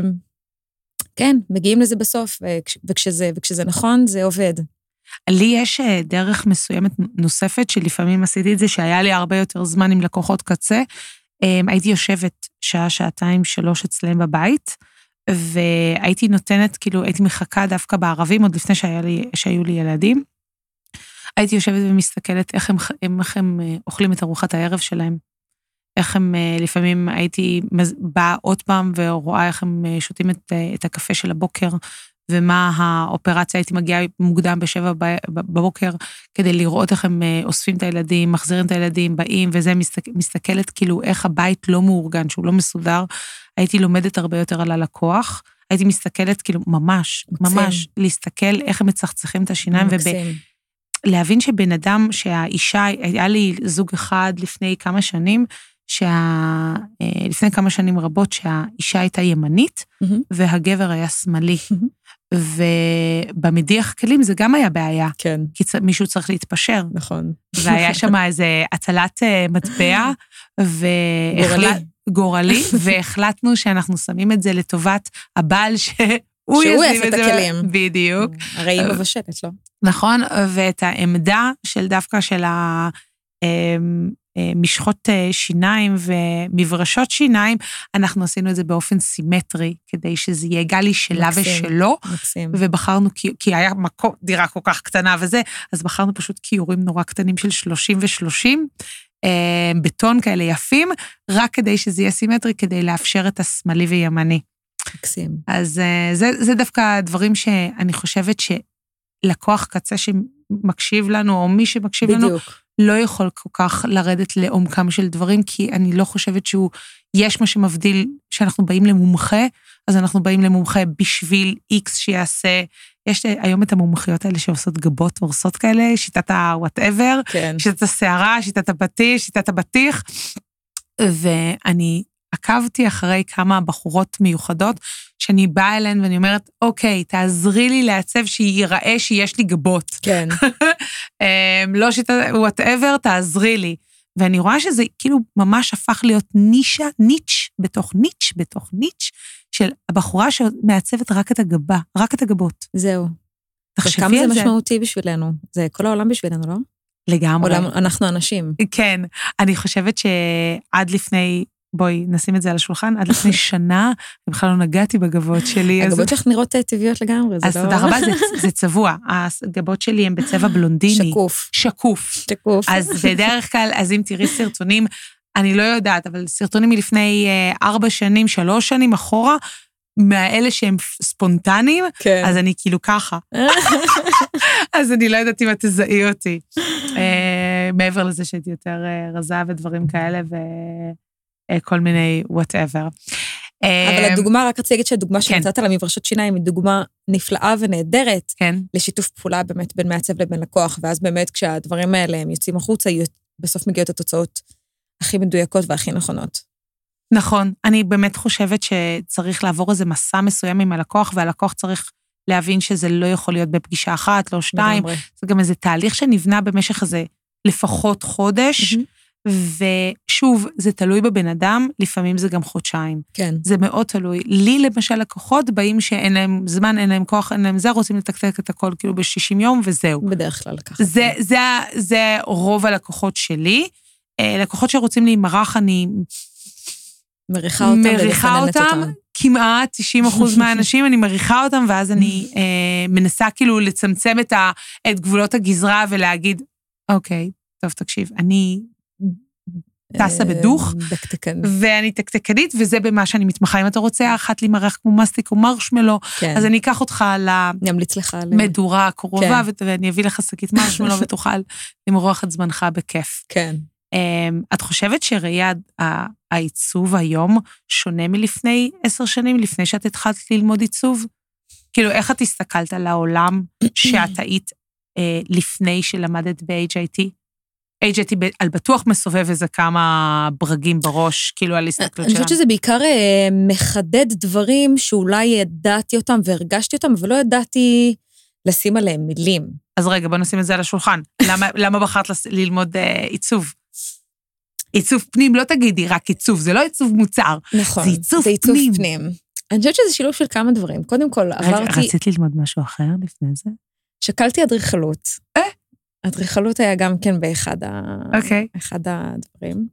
[SPEAKER 2] כן, מגיעים לזה בסוף, וכש, וכשזה, וכשזה נכון, זה עובד.
[SPEAKER 1] לי יש אה, דרך מסוימת נוספת, שלפעמים עשיתי את זה, שהיה לי הרבה יותר זמן עם לקוחות קצה. אה, הייתי יושבת שעה, שעתיים, שלוש אצלם בבית, והייתי נותנת, כאילו, הייתי מחכה דווקא בערבים, עוד לפני שהיה לי, שהיו לי ילדים. הייתי יושבת ומסתכלת איך הם, הם, איך הם אה, אוכלים את ארוחת הערב שלהם. איך הם, אה, לפעמים הייתי מז- באה עוד פעם ורואה איך הם אה, שותים את, אה, את הקפה של הבוקר, ומה האופרציה, הייתי מגיעה מוקדם בשבע ב- ב- בבוקר, כדי לראות איך הם אה, אוספים את הילדים, מחזירים את הילדים, באים, וזה, מסתכל, מסתכלת כאילו איך הבית לא מאורגן, שהוא לא מסודר. הייתי לומדת הרבה יותר על הלקוח. הייתי מסתכלת כאילו ממש,
[SPEAKER 2] מקסים.
[SPEAKER 1] ממש, להסתכל איך הם מצחצחים את השיניים, וב...
[SPEAKER 2] מקסים.
[SPEAKER 1] להבין שבן אדם, שהאישה, היה לי זוג אחד לפני כמה שנים, שה... אה, לפני כמה שנים רבות שהאישה הייתה ימנית
[SPEAKER 2] מהמם.
[SPEAKER 1] והגבר היה שמאלי.
[SPEAKER 2] מהמם.
[SPEAKER 1] ובמדיח כלים זה גם היה בעיה,
[SPEAKER 2] כן,
[SPEAKER 1] כי צ... מישהו צריך להתפשר.
[SPEAKER 2] נכון.
[SPEAKER 1] והיה שם איזה הטלת אה, מטבע,
[SPEAKER 2] גורלי.
[SPEAKER 1] והחלט... גורלי, והחלטנו שאנחנו שמים את זה לטובת הבעל שהוא
[SPEAKER 2] שהוא
[SPEAKER 1] ישים
[SPEAKER 2] יעשה את הכלים.
[SPEAKER 1] בדיוק.
[SPEAKER 2] הרי
[SPEAKER 1] אה.
[SPEAKER 2] היא מבשלת, לא?
[SPEAKER 1] נכון, ואת העמדה של דווקא של אמ, המשחות אה, שיניים ומברשות שיניים, אנחנו עשינו את זה באופן סימטרי, כדי שזה יהיה גלי שלה
[SPEAKER 2] מקסים.
[SPEAKER 1] ושלו,
[SPEAKER 2] מקסים.
[SPEAKER 1] ובחרנו, כי- כי היה מקום, דירה כל כך קטנה וזה, אז בחרנו פשוט כיורים נורא קטנים של 30 ו-30. בטון כאלה יפים, רק כדי שזה יהיה סימטרי, כדי לאפשר את השמאלי וימני.
[SPEAKER 2] מקסים.
[SPEAKER 1] אז אה, זה, זה דווקא הדברים שאני חושבת שלקוח קצה שמקשיב לנו, או מי שמקשיב לנו,
[SPEAKER 2] בדיוק.
[SPEAKER 1] לא יכול כל כך לרדת לעומקם של דברים, כי אני לא חושבת שהוא, יש מה שמבדיל, שאנחנו באים למומחה, אז אנחנו באים למומחה בשביל איקס שיעשה, יש אה, היום את המומחיות האלה שעושות גבות, הורסות כאלה, שיטת ה-whatever,
[SPEAKER 2] כן.
[SPEAKER 1] שיטת הסערה, שיטת הבטיח, שיטת הבטיח. ואני עקבתי אחרי כמה בחורות מיוחדות, שאני באה אליהן ואני אומרת, אוקיי, תעזרי לי לעצב שייראה שיש לי גבות.
[SPEAKER 2] כן.
[SPEAKER 1] אמ, לא שיטת, וואטאבר, תעזרי לי. ואני רואה שזה כאילו ממש הפך להיות נישה, ניץ', בתוך ניץ', בתוך ניץ', של הבחורה שמעצבת רק את הגבה, רק את הגבות.
[SPEAKER 2] זהו. כמה
[SPEAKER 1] תחשבי על
[SPEAKER 2] זה
[SPEAKER 1] זה.
[SPEAKER 2] משמעותי בשבילנו. זה כל העולם בשבילנו, לא?
[SPEAKER 1] לגמרי.
[SPEAKER 2] עולם, אנחנו אנשים.
[SPEAKER 1] כן, אני חושבת שעד לפני, בואי, נשים את זה על השולחן, עד לפני שנה, אני בכלל לא נגעתי בגבות שלי. אז-
[SPEAKER 2] הגבות שלך נראות אה, טבעיות לגמרי, זה לא...
[SPEAKER 1] אז תודה רבה, זה- זה צבוע. הגבות שלי הן בצבע בלונדיני.
[SPEAKER 2] שקוף.
[SPEAKER 1] שקוף.
[SPEAKER 2] שקוף.
[SPEAKER 1] אז בדרך כלל, אז אם תראי סרטונים, אני לא יודעת, אבל סרטונים מלפני אה, ארבע שנים, שלוש שנים אחורה, מהאלה שהם ספונטניים,
[SPEAKER 2] כן.
[SPEAKER 1] אז אני כאילו ככה. אז אני לא יודעת אם את תזהי אותי. אה, מעבר לזה שהייתי יותר אה, רזה ודברים כאלה וכל מיני וואטאבר. אה,
[SPEAKER 2] אבל הדוגמה, רק רציתי להגיד שהדוגמה
[SPEAKER 1] כן.
[SPEAKER 2] שנתת על המברשות שיניים היא דוגמה נפלאה ונהדרת
[SPEAKER 1] כן,
[SPEAKER 2] לשיתוף פעולה באמת בין מעצב לבין לקוח, ואז באמת כשהדברים האלה הם יוצאים החוצה, יהיו- בסוף מגיעות התוצאות הכי מדויקות והכי נכונות.
[SPEAKER 1] נכון. אני באמת חושבת שצריך לעבור איזה מסע מסוים עם הלקוח, והלקוח צריך להבין שזה לא יכול להיות בפגישה אחת, לא שתיים.
[SPEAKER 2] לגמרי.
[SPEAKER 1] זה גם איזה תהליך שנבנה במשך איזה לפחות חודש,
[SPEAKER 2] מהמם.
[SPEAKER 1] ושוב, זה תלוי בבן אדם, לפעמים זה גם חודשיים.
[SPEAKER 2] כן.
[SPEAKER 1] זה מאוד תלוי. לי, למשל, לקוחות באים שאין להם זמן, אין להם כוח, אין להם זה, רוצים לתקתק את הכל כאילו ב-60 יום, וזהו.
[SPEAKER 2] בדרך כלל ככה.
[SPEAKER 1] זה, זה, זה רוב הלקוחות שלי. אה, לקוחות שרוצים להימרח, אני
[SPEAKER 2] מריחה אותם
[SPEAKER 1] מריחה
[SPEAKER 2] ומסננת
[SPEAKER 1] אותם. כמעט 90 אחוז מהאנשים, אני מריחה אותם, ואז אני אה, מנסה כאילו לצמצם את, ה, את גבולות הגזרה ולהגיד, אוקיי, טוב, תקשיב, אני, טסה
[SPEAKER 2] אה,
[SPEAKER 1] בדוך.
[SPEAKER 2] דקדקן,
[SPEAKER 1] ואני תקתקנית, וזה במה שאני מתמחה, אם אתה רוצה, אחת להימרח כמו מסטיק או מרשמלו,
[SPEAKER 2] כן.
[SPEAKER 1] אז אני אקח אותך
[SPEAKER 2] נמליץ לך על...
[SPEAKER 1] למדורה הקרובה,
[SPEAKER 2] כן.
[SPEAKER 1] ו- ואני אביא לך שקית מרשמלו ותוכל למרוח את זמנך בכיף.
[SPEAKER 2] כן.
[SPEAKER 1] אמ, את חושבת שראייה ה- העיצוב היום שונה מלפני עשר שנים, לפני שאת התחלת ללמוד עיצוב? כאילו, איך את הסתכלת על העולם שאת היית אה, לפני שלמדת ב-HIT? HIT ב- על בטוח מסובב איזה כמה ברגים בראש, כאילו, על הסתכלות
[SPEAKER 2] אה, אני
[SPEAKER 1] שלנו.
[SPEAKER 2] חושבת שזה בעיקר אה, מחדד דברים שאולי ידעתי אותם והרגשתי אותם, אבל לא ידעתי לשים עליהם מילים.
[SPEAKER 1] אז רגע, בוא נשים את זה על השולחן. למה, למה בחרת לס- ללמוד אה, עיצוב? עיצוב פנים, לא תגידי רק עיצוב, זה לא עיצוב מוצר.
[SPEAKER 2] נכון.
[SPEAKER 1] זה עיצוב
[SPEAKER 2] זה עיצוב
[SPEAKER 1] פנים.
[SPEAKER 2] פנים. אני חושבת שזה שילוב של כמה דברים. קודם כל, עברתי,
[SPEAKER 1] רצית ללמוד משהו אחר לפני זה?
[SPEAKER 2] שקלתי אדריכלות. אדריכלות היה גם כן באחד ה...
[SPEAKER 1] אוקיי.
[SPEAKER 2] אחד הדברים.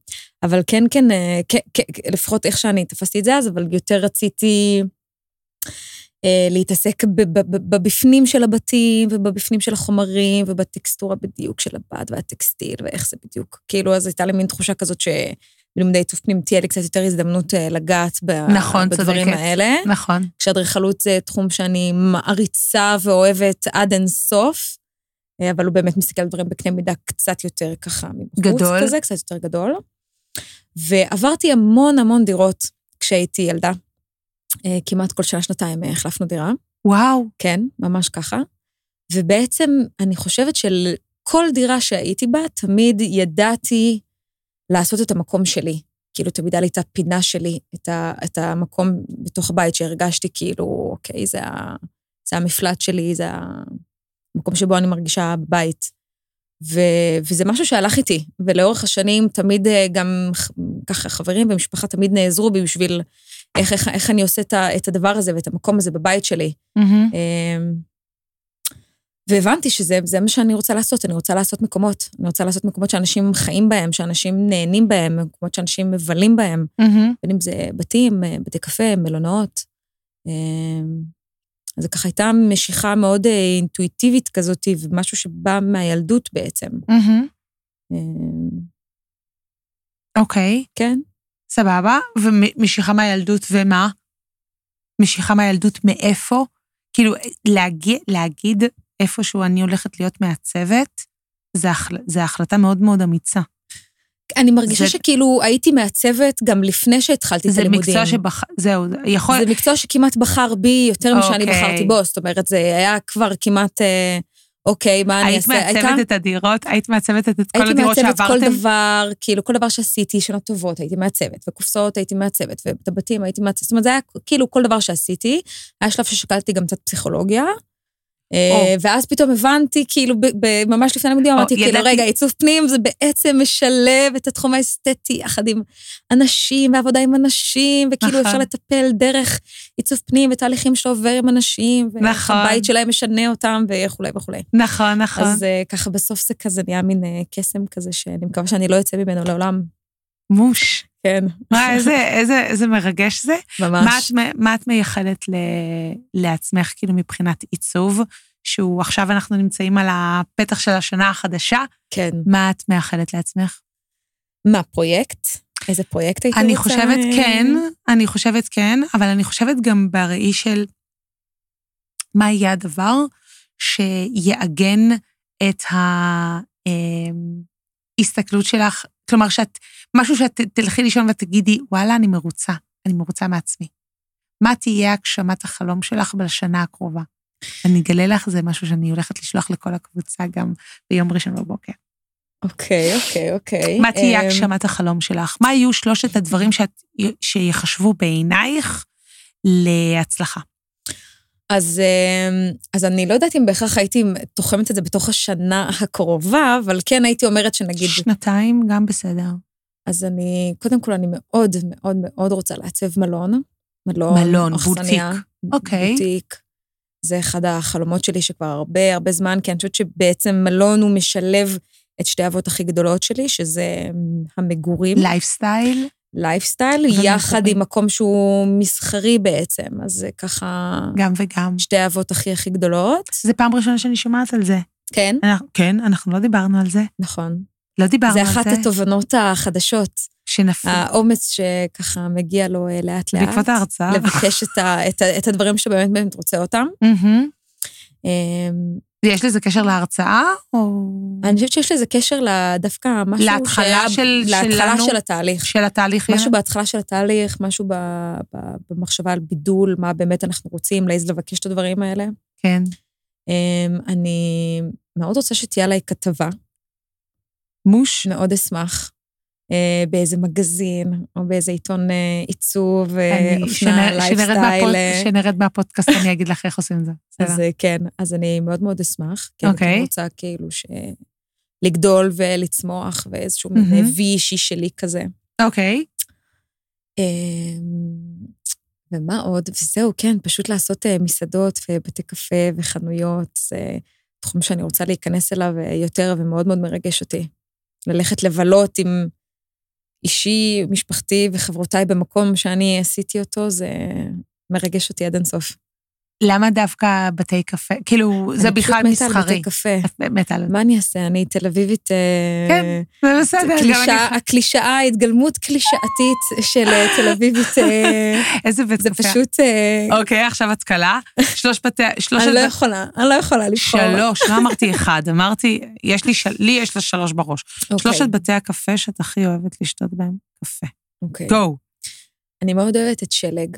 [SPEAKER 2] אבל כן, כן, אה, כן, כן, כן, לפחות איך שאני תפסתי את זה אז, אבל יותר רציתי אה, להתעסק ב- ב- ב- בבפנים של הבתים, ובבפנים של החומרים, ובטקסטורה בדיוק של הבד והטקסטיל, ואיך זה בדיוק. כאילו, אז הייתה לי מין תחושה כזאת שבלימודי עיצוב פנים תהיה לי קצת יותר הזדמנות אה, לגעת ב-
[SPEAKER 1] נכון,
[SPEAKER 2] בדברים
[SPEAKER 1] צודקת.
[SPEAKER 2] האלה.
[SPEAKER 1] נכון.
[SPEAKER 2] כשאדריכלות זה תחום שאני מעריצה ואוהבת עד אין סוף, אה, אבל הוא באמת מסתכל על דברים בקנה מידה קצת יותר ככה מבחוץ.
[SPEAKER 1] גדול.
[SPEAKER 2] כזה, קצת יותר גדול. ועברתי המון המון דירות כשהייתי ילדה. אה, כמעט כל שנה-שנתיים אה, החלפנו דירה.
[SPEAKER 1] וואו,
[SPEAKER 2] כן, ממש ככה. ובעצם, אני חושבת של... כל דירה שהייתי בה, תמיד ידעתי לעשות את המקום שלי. כאילו, תמיד היה לי את הפינה שלי, את, ה, את המקום בתוך הבית שהרגשתי כאילו, אוקיי, זה, ה, זה המפלט שלי, זה המקום שבו אני מרגישה בבית. ו, וזה משהו שהלך איתי, ולאורך השנים תמיד אה, גם ח- ככה חברים ומשפחה תמיד נעזרו בי בשביל איך, איך, איך אני עושה את, ה, את הדבר הזה ואת המקום הזה בבית שלי.
[SPEAKER 1] מהמם.
[SPEAKER 2] אמ, והבנתי שזה זה מה שאני רוצה לעשות, אני רוצה לעשות מקומות. אני רוצה לעשות מקומות שאנשים חיים בהם, שאנשים נהנים בהם, מקומות שאנשים מבלים בהם,
[SPEAKER 1] מהמם.
[SPEAKER 2] בין אם זה בתים, אה, בתי קפה, מלונות. אמ, אז זו ככה הייתה משיכה מאוד אה, אינטואיטיבית כזאת, ומשהו שבא מהילדות בעצם.
[SPEAKER 1] מהמם.
[SPEAKER 2] אמ,
[SPEAKER 1] אוקיי,
[SPEAKER 2] כן,
[SPEAKER 1] סבבה. ומשיכה מהילדות ומה? משיכה מהילדות מאיפה? כאילו, להגיע, להגיד איפשהו אני הולכת להיות מעצבת, זה, החל, זה החלטה מאוד מאוד אמיצה.
[SPEAKER 2] אני מרגישה
[SPEAKER 1] זה-
[SPEAKER 2] שכאילו הייתי מעצבת גם לפני שהתחלתי את
[SPEAKER 1] זה
[SPEAKER 2] הלימודים.
[SPEAKER 1] מקצוע שבח... זהו, זה יכול...
[SPEAKER 2] זה מקצוע שכמעט בחר בי יותר משאני
[SPEAKER 1] אוקיי.
[SPEAKER 2] בחרתי בו, זאת אומרת, זה היה כבר כמעט, אה, אוקיי, מה אני
[SPEAKER 1] היית
[SPEAKER 2] אעשה? הייתה-
[SPEAKER 1] מעצבת את הדירות, היית מעצבת את כל
[SPEAKER 2] הייתי
[SPEAKER 1] הדירות
[SPEAKER 2] מעצבת כל
[SPEAKER 1] שעברתם?
[SPEAKER 2] דבר, כאילו, כל דבר שעשיתי, שנות טובות, הייתי מעצבת, וקופסאות הייתי מעצבת, ואת הבתים הייתי מעצבת, זאת אומרת, זה היה כאילו כל דבר שעשיתי. היה שלב ששקלתי גם קצת פסיכולוגיה, אה, ואז פתאום הבנתי, כאילו, ב- ב- ממש לפני הלימודים,
[SPEAKER 1] או,
[SPEAKER 2] אמרתי, כאילו,
[SPEAKER 1] ידעתי-
[SPEAKER 2] רגע, עיצוב פנים זה בעצם משלב את התחום האסתטי יחד עם אנשים, ועבודה עם אנשים, וכאילו
[SPEAKER 1] נכון.
[SPEAKER 2] אפשר לטפל דרך עיצוב פנים ותהליכים שעובר עם אנשים, ואיך
[SPEAKER 1] נכון.
[SPEAKER 2] הבית שלהם משנה אותם, וכולי וכולי.
[SPEAKER 1] נכון, נכון.
[SPEAKER 2] אז אה, ככה בסוף זה כזה נהיה מין אה, קסם כזה, שאני מקווה שאני לא אצא ממנו לעולם.
[SPEAKER 1] מוש.
[SPEAKER 2] כן,
[SPEAKER 1] מה, איזה- איזה איזה מרגש זה. מה
[SPEAKER 2] ממש.
[SPEAKER 1] את מ- מה את מייחלת ל- לעצמך, כאילו, מבחינת עיצוב, שהוא עכשיו אנחנו נמצאים על הפתח של השנה החדשה,
[SPEAKER 2] כן.
[SPEAKER 1] מה את מאחלת לעצמך?
[SPEAKER 2] מה, פרויקט? איזה פרויקט הייתי רוצה?
[SPEAKER 1] אני חושבת כן, אני חושבת כן, אבל אני חושבת גם בראי של מה יהיה הדבר שיעגן את ההסתכלות שלך, כלומר, שאת, משהו שאת ת- תלכי לישון ותגידי, וואלה, אני מרוצה, אני מרוצה מעצמי. מה תהיה הגשמת החלום שלך בשנה הקרובה? אני אגלה לך, זה משהו שאני הולכת לשלוח לכל הקבוצה גם ביום ראשון בבוקר.
[SPEAKER 2] אוקיי, אוקיי, אוקיי.
[SPEAKER 1] מה תהיה
[SPEAKER 2] אמ,
[SPEAKER 1] הגשמת החלום שלך? מה יהיו שלושת הדברים שאת, שיחשבו בעינייך להצלחה?
[SPEAKER 2] אז, אמ, אז אני לא יודעת אם בהכרח הייתי תוחמת את זה בתוך השנה הקרובה, אבל כן הייתי אומרת שנגיד,
[SPEAKER 1] שנתיים גם בסדר.
[SPEAKER 2] אז אני, קודם כל, אני מאוד מאוד מאוד רוצה לעצב מלון. מלון,
[SPEAKER 1] מלון,
[SPEAKER 2] אכסניה,
[SPEAKER 1] בוטיק. אוקיי.
[SPEAKER 2] בוטיק. זה אחד החלומות שלי שכבר הרבה הרבה זמן, כי אני חושבת שבעצם מלון הוא משלב את שתי האבות הכי גדולות שלי, שזה אמ, המגורים,
[SPEAKER 1] לייפסטייל?
[SPEAKER 2] לייפסטייל,
[SPEAKER 1] ומגורים.
[SPEAKER 2] יחד עם מקום שהוא מסחרי בעצם. אז זה ככה
[SPEAKER 1] גם וגם.
[SPEAKER 2] שתי האבות הכי הכי גדולות.
[SPEAKER 1] זה פעם ראשונה שאני שומעת על זה.
[SPEAKER 2] כן,
[SPEAKER 1] אנחנו- כן, אנחנו לא דיברנו על זה.
[SPEAKER 2] נכון.
[SPEAKER 1] לא דיברנו
[SPEAKER 2] זה
[SPEAKER 1] על זה.
[SPEAKER 2] אחת אה, התובנות החדשות,
[SPEAKER 1] שנפל.
[SPEAKER 2] האומץ שככה מגיע לו אה, לאט-לאט.
[SPEAKER 1] בעקבות ההרצאה.
[SPEAKER 2] לבקש את, ה, את, ה, את הדברים שבאמת באמת רוצה אותם.
[SPEAKER 1] מהמם.
[SPEAKER 2] אמ,
[SPEAKER 1] יש לזה קשר להרצאה, או...
[SPEAKER 2] אני חושבת שיש לזה קשר ל- דווקא משהו
[SPEAKER 1] להתחלה
[SPEAKER 2] שהיה-
[SPEAKER 1] של-
[SPEAKER 2] להתחלה
[SPEAKER 1] שלנו?
[SPEAKER 2] של התהליך.
[SPEAKER 1] של התהליך?
[SPEAKER 2] משהו בהתחלה של התהליך, משהו ב, ב, במחשבה על בידול, מה באמת אנחנו רוצים, להעז לבקש את הדברים האלה.
[SPEAKER 1] כן.
[SPEAKER 2] אמ, אני מאוד רוצה שתהיה עליי כתבה,
[SPEAKER 1] מוש?
[SPEAKER 2] מאוד אשמח, אה, באיזה מגזין, או באיזה עיתון אה, עיצוב, אה,
[SPEAKER 1] אני-
[SPEAKER 2] אופנה,
[SPEAKER 1] שנרד- שנרד
[SPEAKER 2] לייפסטייל.
[SPEAKER 1] מהפוד-
[SPEAKER 2] אה,
[SPEAKER 1] שנרד מהפודקאסט, אני אגיד לך איך עושים את זה. בסדר.
[SPEAKER 2] אז אה, כן, אז אני מאוד מאוד אשמח. כי אני
[SPEAKER 1] אוקיי.
[SPEAKER 2] כן רוצה כאילו ש... לגדול ולצמוח ואיזשהו מין
[SPEAKER 1] מהמם.
[SPEAKER 2] וי אישי שלי כזה.
[SPEAKER 1] אוקיי.
[SPEAKER 2] אמ, ומה עוד? וזהו, כן, פשוט לעשות אה, מסעדות ובתי קפה וחנויות, זה תחום שאני רוצה להיכנס אליו אה, יותר ומאוד מאוד מרגש אותי. ללכת לבלות עם אישי, משפחתי וחברותיי במקום שאני עשיתי אותו, זה מרגש אותי עד אינסוף.
[SPEAKER 1] למה דווקא בתי קפה? כאילו, זה
[SPEAKER 2] אני פשוט
[SPEAKER 1] בכלל
[SPEAKER 2] מתה על
[SPEAKER 1] מסחרי.
[SPEAKER 2] בתי קפה.
[SPEAKER 1] את מתה על זה.
[SPEAKER 2] מה אני אעשה? אני תל אביבית... אה,
[SPEAKER 1] כן, זה בסדר, גם
[SPEAKER 2] קלישאה-
[SPEAKER 1] אני...
[SPEAKER 2] הקלישאה, התגלמות קלישאתית של אה, תל אביבית, אה,
[SPEAKER 1] איזה בית
[SPEAKER 2] זה
[SPEAKER 1] קפה.
[SPEAKER 2] פשוט... אה,
[SPEAKER 1] אוקיי, עכשיו את קלה. שלוש בתי... שלוש...
[SPEAKER 2] אני לא
[SPEAKER 1] הד-
[SPEAKER 2] יכולה, אני לא יכולה לבחור.
[SPEAKER 1] שלוש, לא אמרתי אחד, אמרתי, יש לי, של- לי יש לה שלוש בראש.
[SPEAKER 2] אוקיי,
[SPEAKER 1] שלושת בתי הקפה שאת הכי אוהבת לשתות בהם קפה.
[SPEAKER 2] אוקיי.
[SPEAKER 1] גו.
[SPEAKER 2] אני מאוד אוהבת את שלג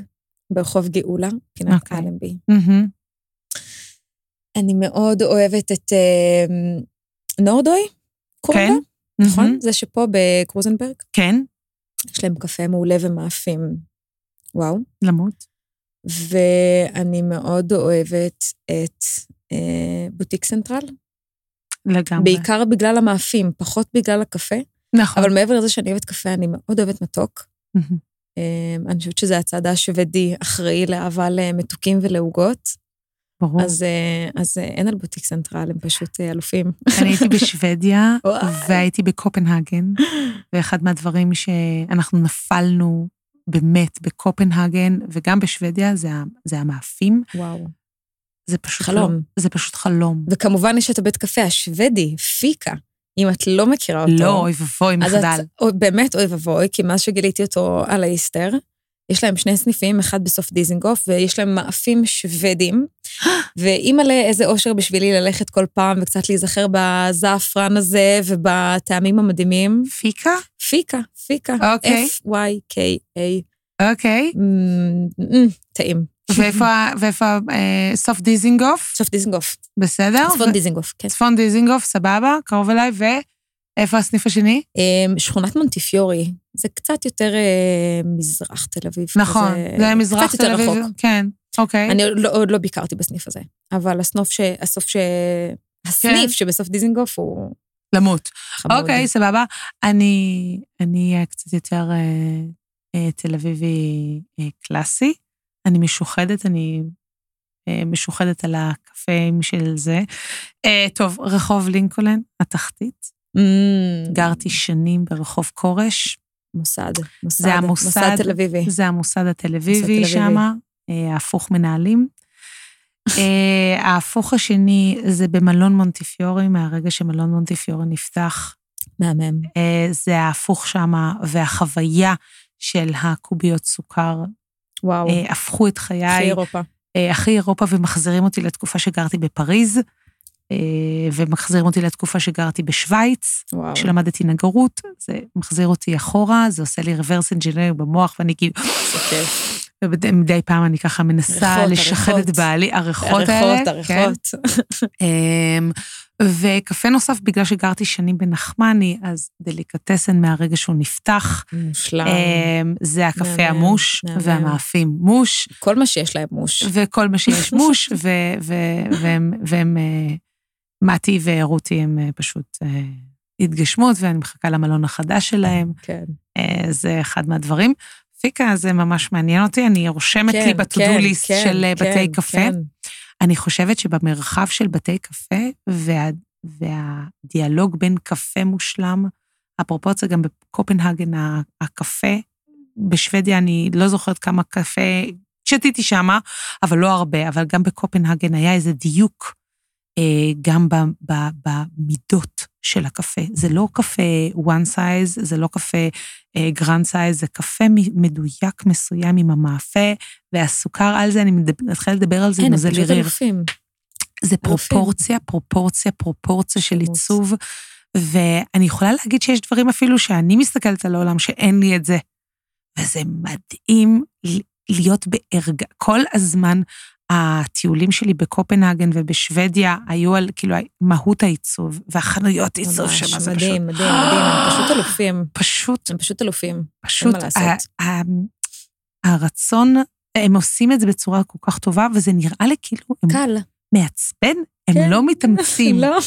[SPEAKER 2] ברחוב גאולה, פינת
[SPEAKER 1] אוקיי.
[SPEAKER 2] אלנבי.
[SPEAKER 1] מהמם.
[SPEAKER 2] אני מאוד אוהבת את... אה, נורדוי, קוראים
[SPEAKER 1] כן,
[SPEAKER 2] לה, נכון?
[SPEAKER 1] מהמם.
[SPEAKER 2] זה שפה בקרוזנברג,
[SPEAKER 1] כן,
[SPEAKER 2] יש להם קפה מעולה ומאפים. וואו.
[SPEAKER 1] למות.
[SPEAKER 2] ואני מאוד אוהבת את אה, בוטיק סנטרל,
[SPEAKER 1] לגמרי.
[SPEAKER 2] בעיקר בגלל המאפים, פחות בגלל הקפה,
[SPEAKER 1] נכון.
[SPEAKER 2] אבל מעבר לזה שאני אוהבת קפה, אני מאוד אוהבת מתוק.
[SPEAKER 1] מהמם.
[SPEAKER 2] אה, אני חושבת שזה הצעדה השוודי אחראי לאהבה למתוקים ולעוגות,
[SPEAKER 1] ברור.
[SPEAKER 2] אז, אה, אז אה, אין על בוטיק סנטרל, הם פשוט אה, אלופים.
[SPEAKER 1] אני הייתי בשוודיה,
[SPEAKER 2] וואי.
[SPEAKER 1] והייתי בקופנהגן, ואחד מהדברים שאנחנו נפלנו באמת בקופנהגן, וגם בשוודיה, זה, ה- זה המאפים.
[SPEAKER 2] וואו,
[SPEAKER 1] זה פשוט
[SPEAKER 2] חלום.
[SPEAKER 1] לא, זה פשוט חלום.
[SPEAKER 2] וכמובן יש את הבית קפה השוודי, פיקה, אם את לא מכירה אותו.
[SPEAKER 1] לא, אוי ואבוי,
[SPEAKER 2] אז את
[SPEAKER 1] מחדל.
[SPEAKER 2] אוי, באמת אוי ואבוי, כי מאז שגיליתי אותו על האיסטר, יש להם שני סניפים, אחד בסוף דיזינגוף, ויש להם מאפים שוודים. ואימא'לה, איזה אושר בשבילי ללכת כל פעם וקצת להיזכר בזעפרן הזה ובטעמים המדהימים.
[SPEAKER 1] פיקה?
[SPEAKER 2] פיקה, פיקה.
[SPEAKER 1] אוקיי.
[SPEAKER 2] F-Y-K-A.
[SPEAKER 1] אוקיי.
[SPEAKER 2] מ- מ- Mm, טעים.
[SPEAKER 1] ואיפה, ה- ואיפה אה, סוף דיזינגוף?
[SPEAKER 2] סוף דיזינגוף.
[SPEAKER 1] בסדר?
[SPEAKER 2] צפון
[SPEAKER 1] אה, ו-
[SPEAKER 2] דיזינגוף, כן.
[SPEAKER 1] צפון דיזינגוף, סבבה, קרוב אליי, ואיפה הסניף השני?
[SPEAKER 2] אמ, שכונת מונטיפיורי, זה קצת יותר אה, מזרח תל אביב.
[SPEAKER 1] נכון,
[SPEAKER 2] כזה-
[SPEAKER 1] זה מזרח
[SPEAKER 2] קצת יותר
[SPEAKER 1] תל אביב.
[SPEAKER 2] רחוק.
[SPEAKER 1] כן, אוקיי.
[SPEAKER 2] אני עוד לא- עוד לא ביקרתי בסניף הזה, אבל הסנוף ש... הסוף ש...
[SPEAKER 1] כן.
[SPEAKER 2] הסניף שבסוף דיזינגוף הוא
[SPEAKER 1] למות.
[SPEAKER 2] חמוד.
[SPEAKER 1] אוקיי, סבבה. אני אני אהיה קצת יותר אה, אה, תל אביבי אה, קלאסי. אני משוחדת, אני אה, משוחדת על הקפאים של זה. אה, טוב, רחוב לינקולן, התחתית.
[SPEAKER 2] Mm,
[SPEAKER 1] גרתי שנים ברחוב כורש.
[SPEAKER 2] מוסד. מוסד.
[SPEAKER 1] זה המוסד.
[SPEAKER 2] מוסד תל אביבי.
[SPEAKER 1] זה המוסד התל
[SPEAKER 2] המוסד התל
[SPEAKER 1] אביבי
[SPEAKER 2] אה. אביבי.
[SPEAKER 1] שם, ההפוך מנהלים. אה, ההפוך השני זה במלון מונטיפיורי, מהרגע שמלון מונטיפיורי נפתח.
[SPEAKER 2] מהמם.
[SPEAKER 1] אה, זה ההפוך שם, והחוויה של הקוביות סוכר
[SPEAKER 2] וואו.
[SPEAKER 1] אה, הפכו את
[SPEAKER 2] אחי
[SPEAKER 1] חיי
[SPEAKER 2] אירופה.
[SPEAKER 1] אה, הכי אירופה ומחזירים אותי לתקופה שגרתי בפריז, אה, ומחזירים אותי לתקופה שגרתי בשוויץ,
[SPEAKER 2] וואו.
[SPEAKER 1] כשלמדתי נגרות, זה מחזיר אותי אחורה, זה עושה לי reverse engineering במוח, ואני כאילו,
[SPEAKER 2] איזה כיף.
[SPEAKER 1] ומדי פעם אני ככה מנסה
[SPEAKER 2] ריחות,
[SPEAKER 1] לשחד
[SPEAKER 2] הריחות.
[SPEAKER 1] את בעלי, הריחות האלה.
[SPEAKER 2] הריחות,
[SPEAKER 1] כן.
[SPEAKER 2] הריחות.
[SPEAKER 1] אמ, וקפה נוסף, בגלל שגרתי שנים בנחמני, אז דליקטסן מהרגע שהוא נפתח.
[SPEAKER 2] מושלם.
[SPEAKER 1] אמ, זה הקפה
[SPEAKER 2] כן. מהמם,
[SPEAKER 1] המוש
[SPEAKER 2] מהמם.
[SPEAKER 1] והמאפים מוש,
[SPEAKER 2] כל מה שיש להם מוש.
[SPEAKER 1] וכל מה שיש מוש, ו- ו- והם, והם, אה, מתי ורותי הם אה, פשוט אה, התגשמות, ואני מחכה למלון החדש שלהם.
[SPEAKER 2] כן.
[SPEAKER 1] אה, זה אחד מהדברים. פיקה זה ממש מעניין אותי, אני רושמת לי
[SPEAKER 2] כן,
[SPEAKER 1] בטודו
[SPEAKER 2] כן,
[SPEAKER 1] ליסט
[SPEAKER 2] כן,
[SPEAKER 1] של אה,
[SPEAKER 2] כן,
[SPEAKER 1] בתי קפה.
[SPEAKER 2] כן.
[SPEAKER 1] אני חושבת שבמרחב של בתי קפה, וה, והדיאלוג בין קפה מושלם, אפרופו זה גם בקופנהגן, ה- הקפה, בשוודיה אני לא זוכרת כמה קפה, שתיתי שמה, אבל לא הרבה, אבל גם בקופנהגן היה איזה דיוק, אה, גם ב, ב, במידות של הקפה. זה לא קפה one size, זה לא קפה אה, grand size, זה קפה מ- מדויק מסוים עם המאפה והסוכר על זה, אני מדבר- מתחילה לדבר על זה,
[SPEAKER 2] אין, כן, הם
[SPEAKER 1] נוזל לי
[SPEAKER 2] פשוט
[SPEAKER 1] ריר.
[SPEAKER 2] אלופים.
[SPEAKER 1] זה
[SPEAKER 2] אלופים.
[SPEAKER 1] פרופורציה, פרופורציה, פרופורציה של
[SPEAKER 2] שמות.
[SPEAKER 1] עיצוב. ואני יכולה להגיד שיש דברים אפילו שאני מסתכלת על העולם שאין לי את זה. וזה מדהים ל- להיות בערגה. כל הזמן הטיולים שלי בקופנהגן ובשוודיה היו על כאילו מהות העיצוב והחנויות עיצוב
[SPEAKER 2] ממש,
[SPEAKER 1] שמה זה פשוט.
[SPEAKER 2] מדהים, מדהים, מדהים. הם פשוט אלופים.
[SPEAKER 1] פשוט,
[SPEAKER 2] הם פשוט אלופים.
[SPEAKER 1] פשוט,
[SPEAKER 2] מה לעשות.
[SPEAKER 1] ה- ה- הרצון, הם עושים את זה בצורה כל כך טובה, וזה נראה לי כאילו, הם
[SPEAKER 2] קל.
[SPEAKER 1] מעצבן, הם
[SPEAKER 2] כן.
[SPEAKER 1] לא מתאמצים.
[SPEAKER 2] לא.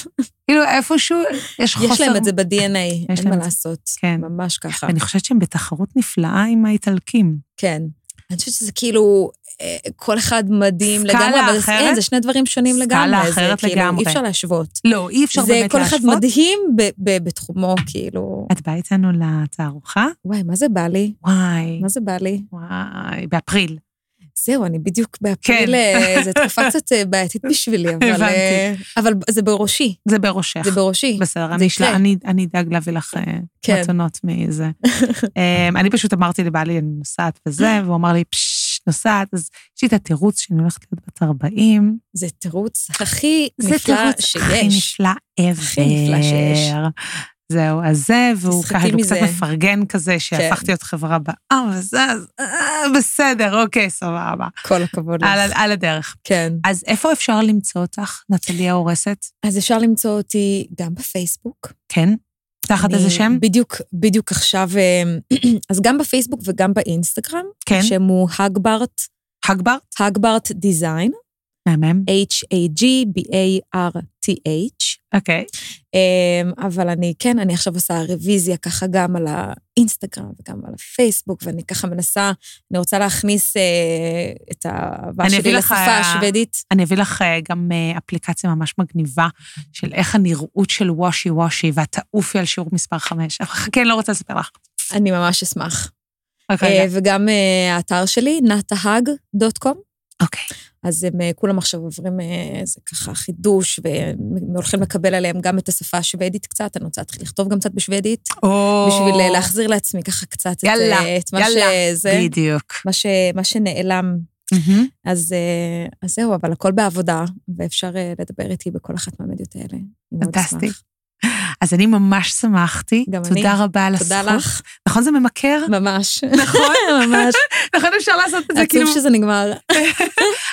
[SPEAKER 1] כאילו איפשהו יש חוסר...
[SPEAKER 2] יש להם את זה ב-DNA,
[SPEAKER 1] יש
[SPEAKER 2] אין
[SPEAKER 1] להם
[SPEAKER 2] מה
[SPEAKER 1] את זה.
[SPEAKER 2] לעשות.
[SPEAKER 1] כן.
[SPEAKER 2] ממש ככה.
[SPEAKER 1] אני חושבת שהם בתחרות נפלאה עם האיטלקים.
[SPEAKER 2] כן. אני חושבת שזה כאילו, אה, כל אחד מדהים
[SPEAKER 1] סקאלה
[SPEAKER 2] לגמרי, אבל זה-
[SPEAKER 1] אחרת?
[SPEAKER 2] אין, זה שני דברים שונים
[SPEAKER 1] סקאלה
[SPEAKER 2] לגמרי. זה
[SPEAKER 1] אחרת
[SPEAKER 2] כאילו,
[SPEAKER 1] לגמרי.
[SPEAKER 2] אי אפשר להשוות.
[SPEAKER 1] לא, אי אפשר
[SPEAKER 2] זה
[SPEAKER 1] באמת
[SPEAKER 2] כל
[SPEAKER 1] להשוות.
[SPEAKER 2] אחד מדהים ב- ב- בתחומו, כאילו.
[SPEAKER 1] את באה איתנו לתערוכה?
[SPEAKER 2] וואי, מה זה בא לי?
[SPEAKER 1] וואי,
[SPEAKER 2] מה זה בא לי?
[SPEAKER 1] וואי, באפריל.
[SPEAKER 2] זהו, אני בדיוק באפריל,
[SPEAKER 1] כן.
[SPEAKER 2] אה, זו תקופה קצת אה, בעייתית בשבילי, אבל... אה, אבל זה בראשי,
[SPEAKER 1] זה בראשך.
[SPEAKER 2] זה בראשי.
[SPEAKER 1] אה, בסדר,
[SPEAKER 2] זה
[SPEAKER 1] אני
[SPEAKER 2] יקרה.
[SPEAKER 1] אשלח- אני- אני אדאג להביא לך אה,
[SPEAKER 2] כן.
[SPEAKER 1] מתנות מאיזה. אמ, אני פשוט אמרתי לבעלי, אני נוסעת וזה, והוא אמר לי, פששש, נוסעת, אז יש לי את התירוץ שאני הולכת להיות בת 40.
[SPEAKER 2] זה תירוץ הכי
[SPEAKER 1] זה
[SPEAKER 2] נפלא
[SPEAKER 1] תירוץ הכי
[SPEAKER 2] שיש.
[SPEAKER 1] נפלא ever.
[SPEAKER 2] הכי נפלא שיש.
[SPEAKER 1] זהו, אז זה, והוא
[SPEAKER 2] תסחטי
[SPEAKER 1] כאילו
[SPEAKER 2] מזה. כן.
[SPEAKER 1] קצת מפרגן כזה, שהפכתי להיות חברה באה, וזה, אז אה, בסדר, אוקיי, סבבה.
[SPEAKER 2] כל הכבוד לך.
[SPEAKER 1] על, על הדרך.
[SPEAKER 2] כן.
[SPEAKER 1] אז איפה אפשר למצוא אותך, נטלי ההורסת?
[SPEAKER 2] אז אפשר למצוא אותי גם בפייסבוק.
[SPEAKER 1] כן? תחת
[SPEAKER 2] אני
[SPEAKER 1] איזה שם?
[SPEAKER 2] בדיוק, בדיוק עכשיו, אמ, אז גם בפייסבוק וגם באינסטגרם.
[SPEAKER 1] כן.
[SPEAKER 2] השם הוא הגברט,
[SPEAKER 1] הגברט?
[SPEAKER 2] הגברט דיזיין,
[SPEAKER 1] מהמם.
[SPEAKER 2] H-A-G-B-A-R-T-H.
[SPEAKER 1] אוקיי.
[SPEAKER 2] אמ, אבל אני, כן, אני עכשיו עושה רוויזיה ככה גם על האינסטגרם וגם על הפייסבוק, ואני ככה מנסה, אני רוצה להכניס אה, את האהבה
[SPEAKER 1] אני
[SPEAKER 2] שלי
[SPEAKER 1] אביא לך-
[SPEAKER 2] לשפה השוודית.
[SPEAKER 1] אני אביא לך אה, גם אה, אפליקציה ממש מגניבה של איך הנראות של וושי וושי, ואת תעופי על שיעור מספר 5. אבל חכה, אני לא רוצה לספר לך.
[SPEAKER 2] אני ממש אשמח.
[SPEAKER 1] אוקיי.
[SPEAKER 2] אה, וגם אה, האתר שלי, natahag.com.
[SPEAKER 1] אוקיי.
[SPEAKER 2] אז הם אה, כולם עכשיו עוברים אה, איזה ככה חידוש, והולכים לקבל עליהם גם את השפה השוודית קצת, אני רוצה להתחיל לכתוב גם קצת בשוודית, בשביל אה, להחזיר לעצמי ככה קצת את,
[SPEAKER 1] יאללה,
[SPEAKER 2] אה, את מה
[SPEAKER 1] יאללה,
[SPEAKER 2] שזה,
[SPEAKER 1] בדיוק.
[SPEAKER 2] מה ש- מה שנעלם.
[SPEAKER 1] מהמם.
[SPEAKER 2] אז, אה, אז זהו, אבל הכל בעבודה, ואפשר אה, לדבר איתי בכל אחת מהמדיות האלה. אני מאוד
[SPEAKER 1] פנטסטי. נכון.
[SPEAKER 2] אשמח.
[SPEAKER 1] אז אני ממש שמחתי.
[SPEAKER 2] גם אני.
[SPEAKER 1] תודה רבה על הזכות.
[SPEAKER 2] תודה לך,
[SPEAKER 1] נכון זה ממכר?
[SPEAKER 2] ממש.
[SPEAKER 1] נכון.
[SPEAKER 2] ממש.
[SPEAKER 1] נכון אפשר לעשות את זה כאילו.
[SPEAKER 2] עצוב שזה נגמר.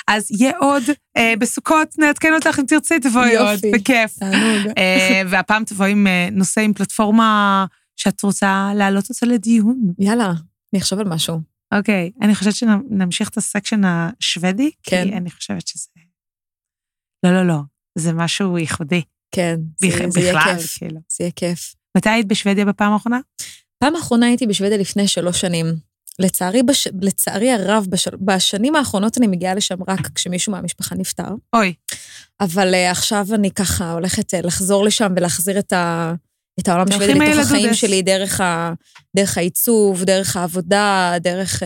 [SPEAKER 1] אז יהיה עוד. אה, בסוכות נעדכן אותך אם תרצי, תבואי עוד.
[SPEAKER 2] יופי.
[SPEAKER 1] בכיף.
[SPEAKER 2] תענוג.
[SPEAKER 1] אה, והפעם תבואי עם אה, נושא, עם פלטפורמה שאת רוצה להעלות אותה לדיון.
[SPEAKER 2] יאללה, אני אחשוב על משהו.
[SPEAKER 1] אוקיי, אני חושבת שנמשיך את הסקשן השוודי,
[SPEAKER 2] כן.
[SPEAKER 1] כי אני חושבת שזה... לא, לא, לא, זה משהו ייחודי.
[SPEAKER 2] כן, זה
[SPEAKER 1] בכ-
[SPEAKER 2] זה יהיה
[SPEAKER 1] בכלל,
[SPEAKER 2] כיף.
[SPEAKER 1] כאילו.
[SPEAKER 2] זה יהיה כיף.
[SPEAKER 1] מתי היית בשוודיה בפעם האחרונה?
[SPEAKER 2] פעם האחרונה הייתי בשוודיה לפני שלוש שנים. לצערי, בש... לצערי הרב, בש... בשנים האחרונות אני מגיעה לשם רק כשמישהו מהמשפחה נפטר,
[SPEAKER 1] אוי,
[SPEAKER 2] אבל uh, עכשיו אני ככה הולכת uh, לחזור לשם ולהחזיר את, ה... את העולם
[SPEAKER 1] הולכים
[SPEAKER 2] השוודיה לתוך
[SPEAKER 1] האלה
[SPEAKER 2] החיים
[SPEAKER 1] דודס.
[SPEAKER 2] שלי דרך, ה... דרך העיצוב, דרך העבודה, דרך... Uh...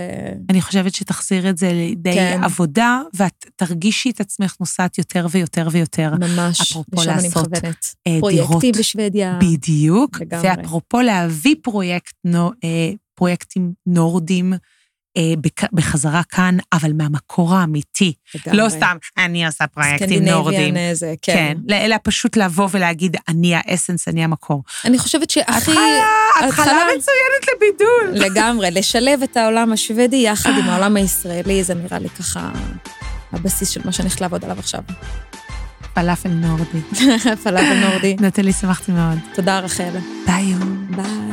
[SPEAKER 1] אני חושבת שתחזיר את זה לידי
[SPEAKER 2] כן.
[SPEAKER 1] עבודה, ואת תרגישי את עצמך נוסעת יותר ויותר ויותר.
[SPEAKER 2] ממש,
[SPEAKER 1] אה, אפרופו
[SPEAKER 2] לשם אני
[SPEAKER 1] לעשות,
[SPEAKER 2] מכוונת.
[SPEAKER 1] אה, דירות.
[SPEAKER 2] פרויקטים בשוודיה.
[SPEAKER 1] בדיוק.
[SPEAKER 2] לגמרי.
[SPEAKER 1] ואפרופו להביא פרויקט, נו- אה, פרויקטים נורדים אה, בכ- בחזרה כאן, אבל מהמקור האמיתי.
[SPEAKER 2] לגמרי.
[SPEAKER 1] לא סתם, אני עושה פרויקטים
[SPEAKER 2] סקנדינביאן,
[SPEAKER 1] נורדים.
[SPEAKER 2] אה, זה, כן.
[SPEAKER 1] כן, אלא פשוט לבוא ולהגיד, אני האסנס, אני המקור.
[SPEAKER 2] אני חושבת שהכי...
[SPEAKER 1] התחלה, התחלה
[SPEAKER 2] התחלה.
[SPEAKER 1] מצוינת לבידול.
[SPEAKER 2] לגמרי, לשלב את העולם השוודי יחד עם העולם הישראלי, זה נראה לי ככה הבסיס של מה שאני הולכת לעבוד עליו עכשיו.
[SPEAKER 1] פלאפל נורדי.
[SPEAKER 2] פלאבל נורדי. כן.
[SPEAKER 1] נטלי, שמחתי מאוד.
[SPEAKER 2] תודה, רחל.
[SPEAKER 1] ביי. יום.
[SPEAKER 2] ביי.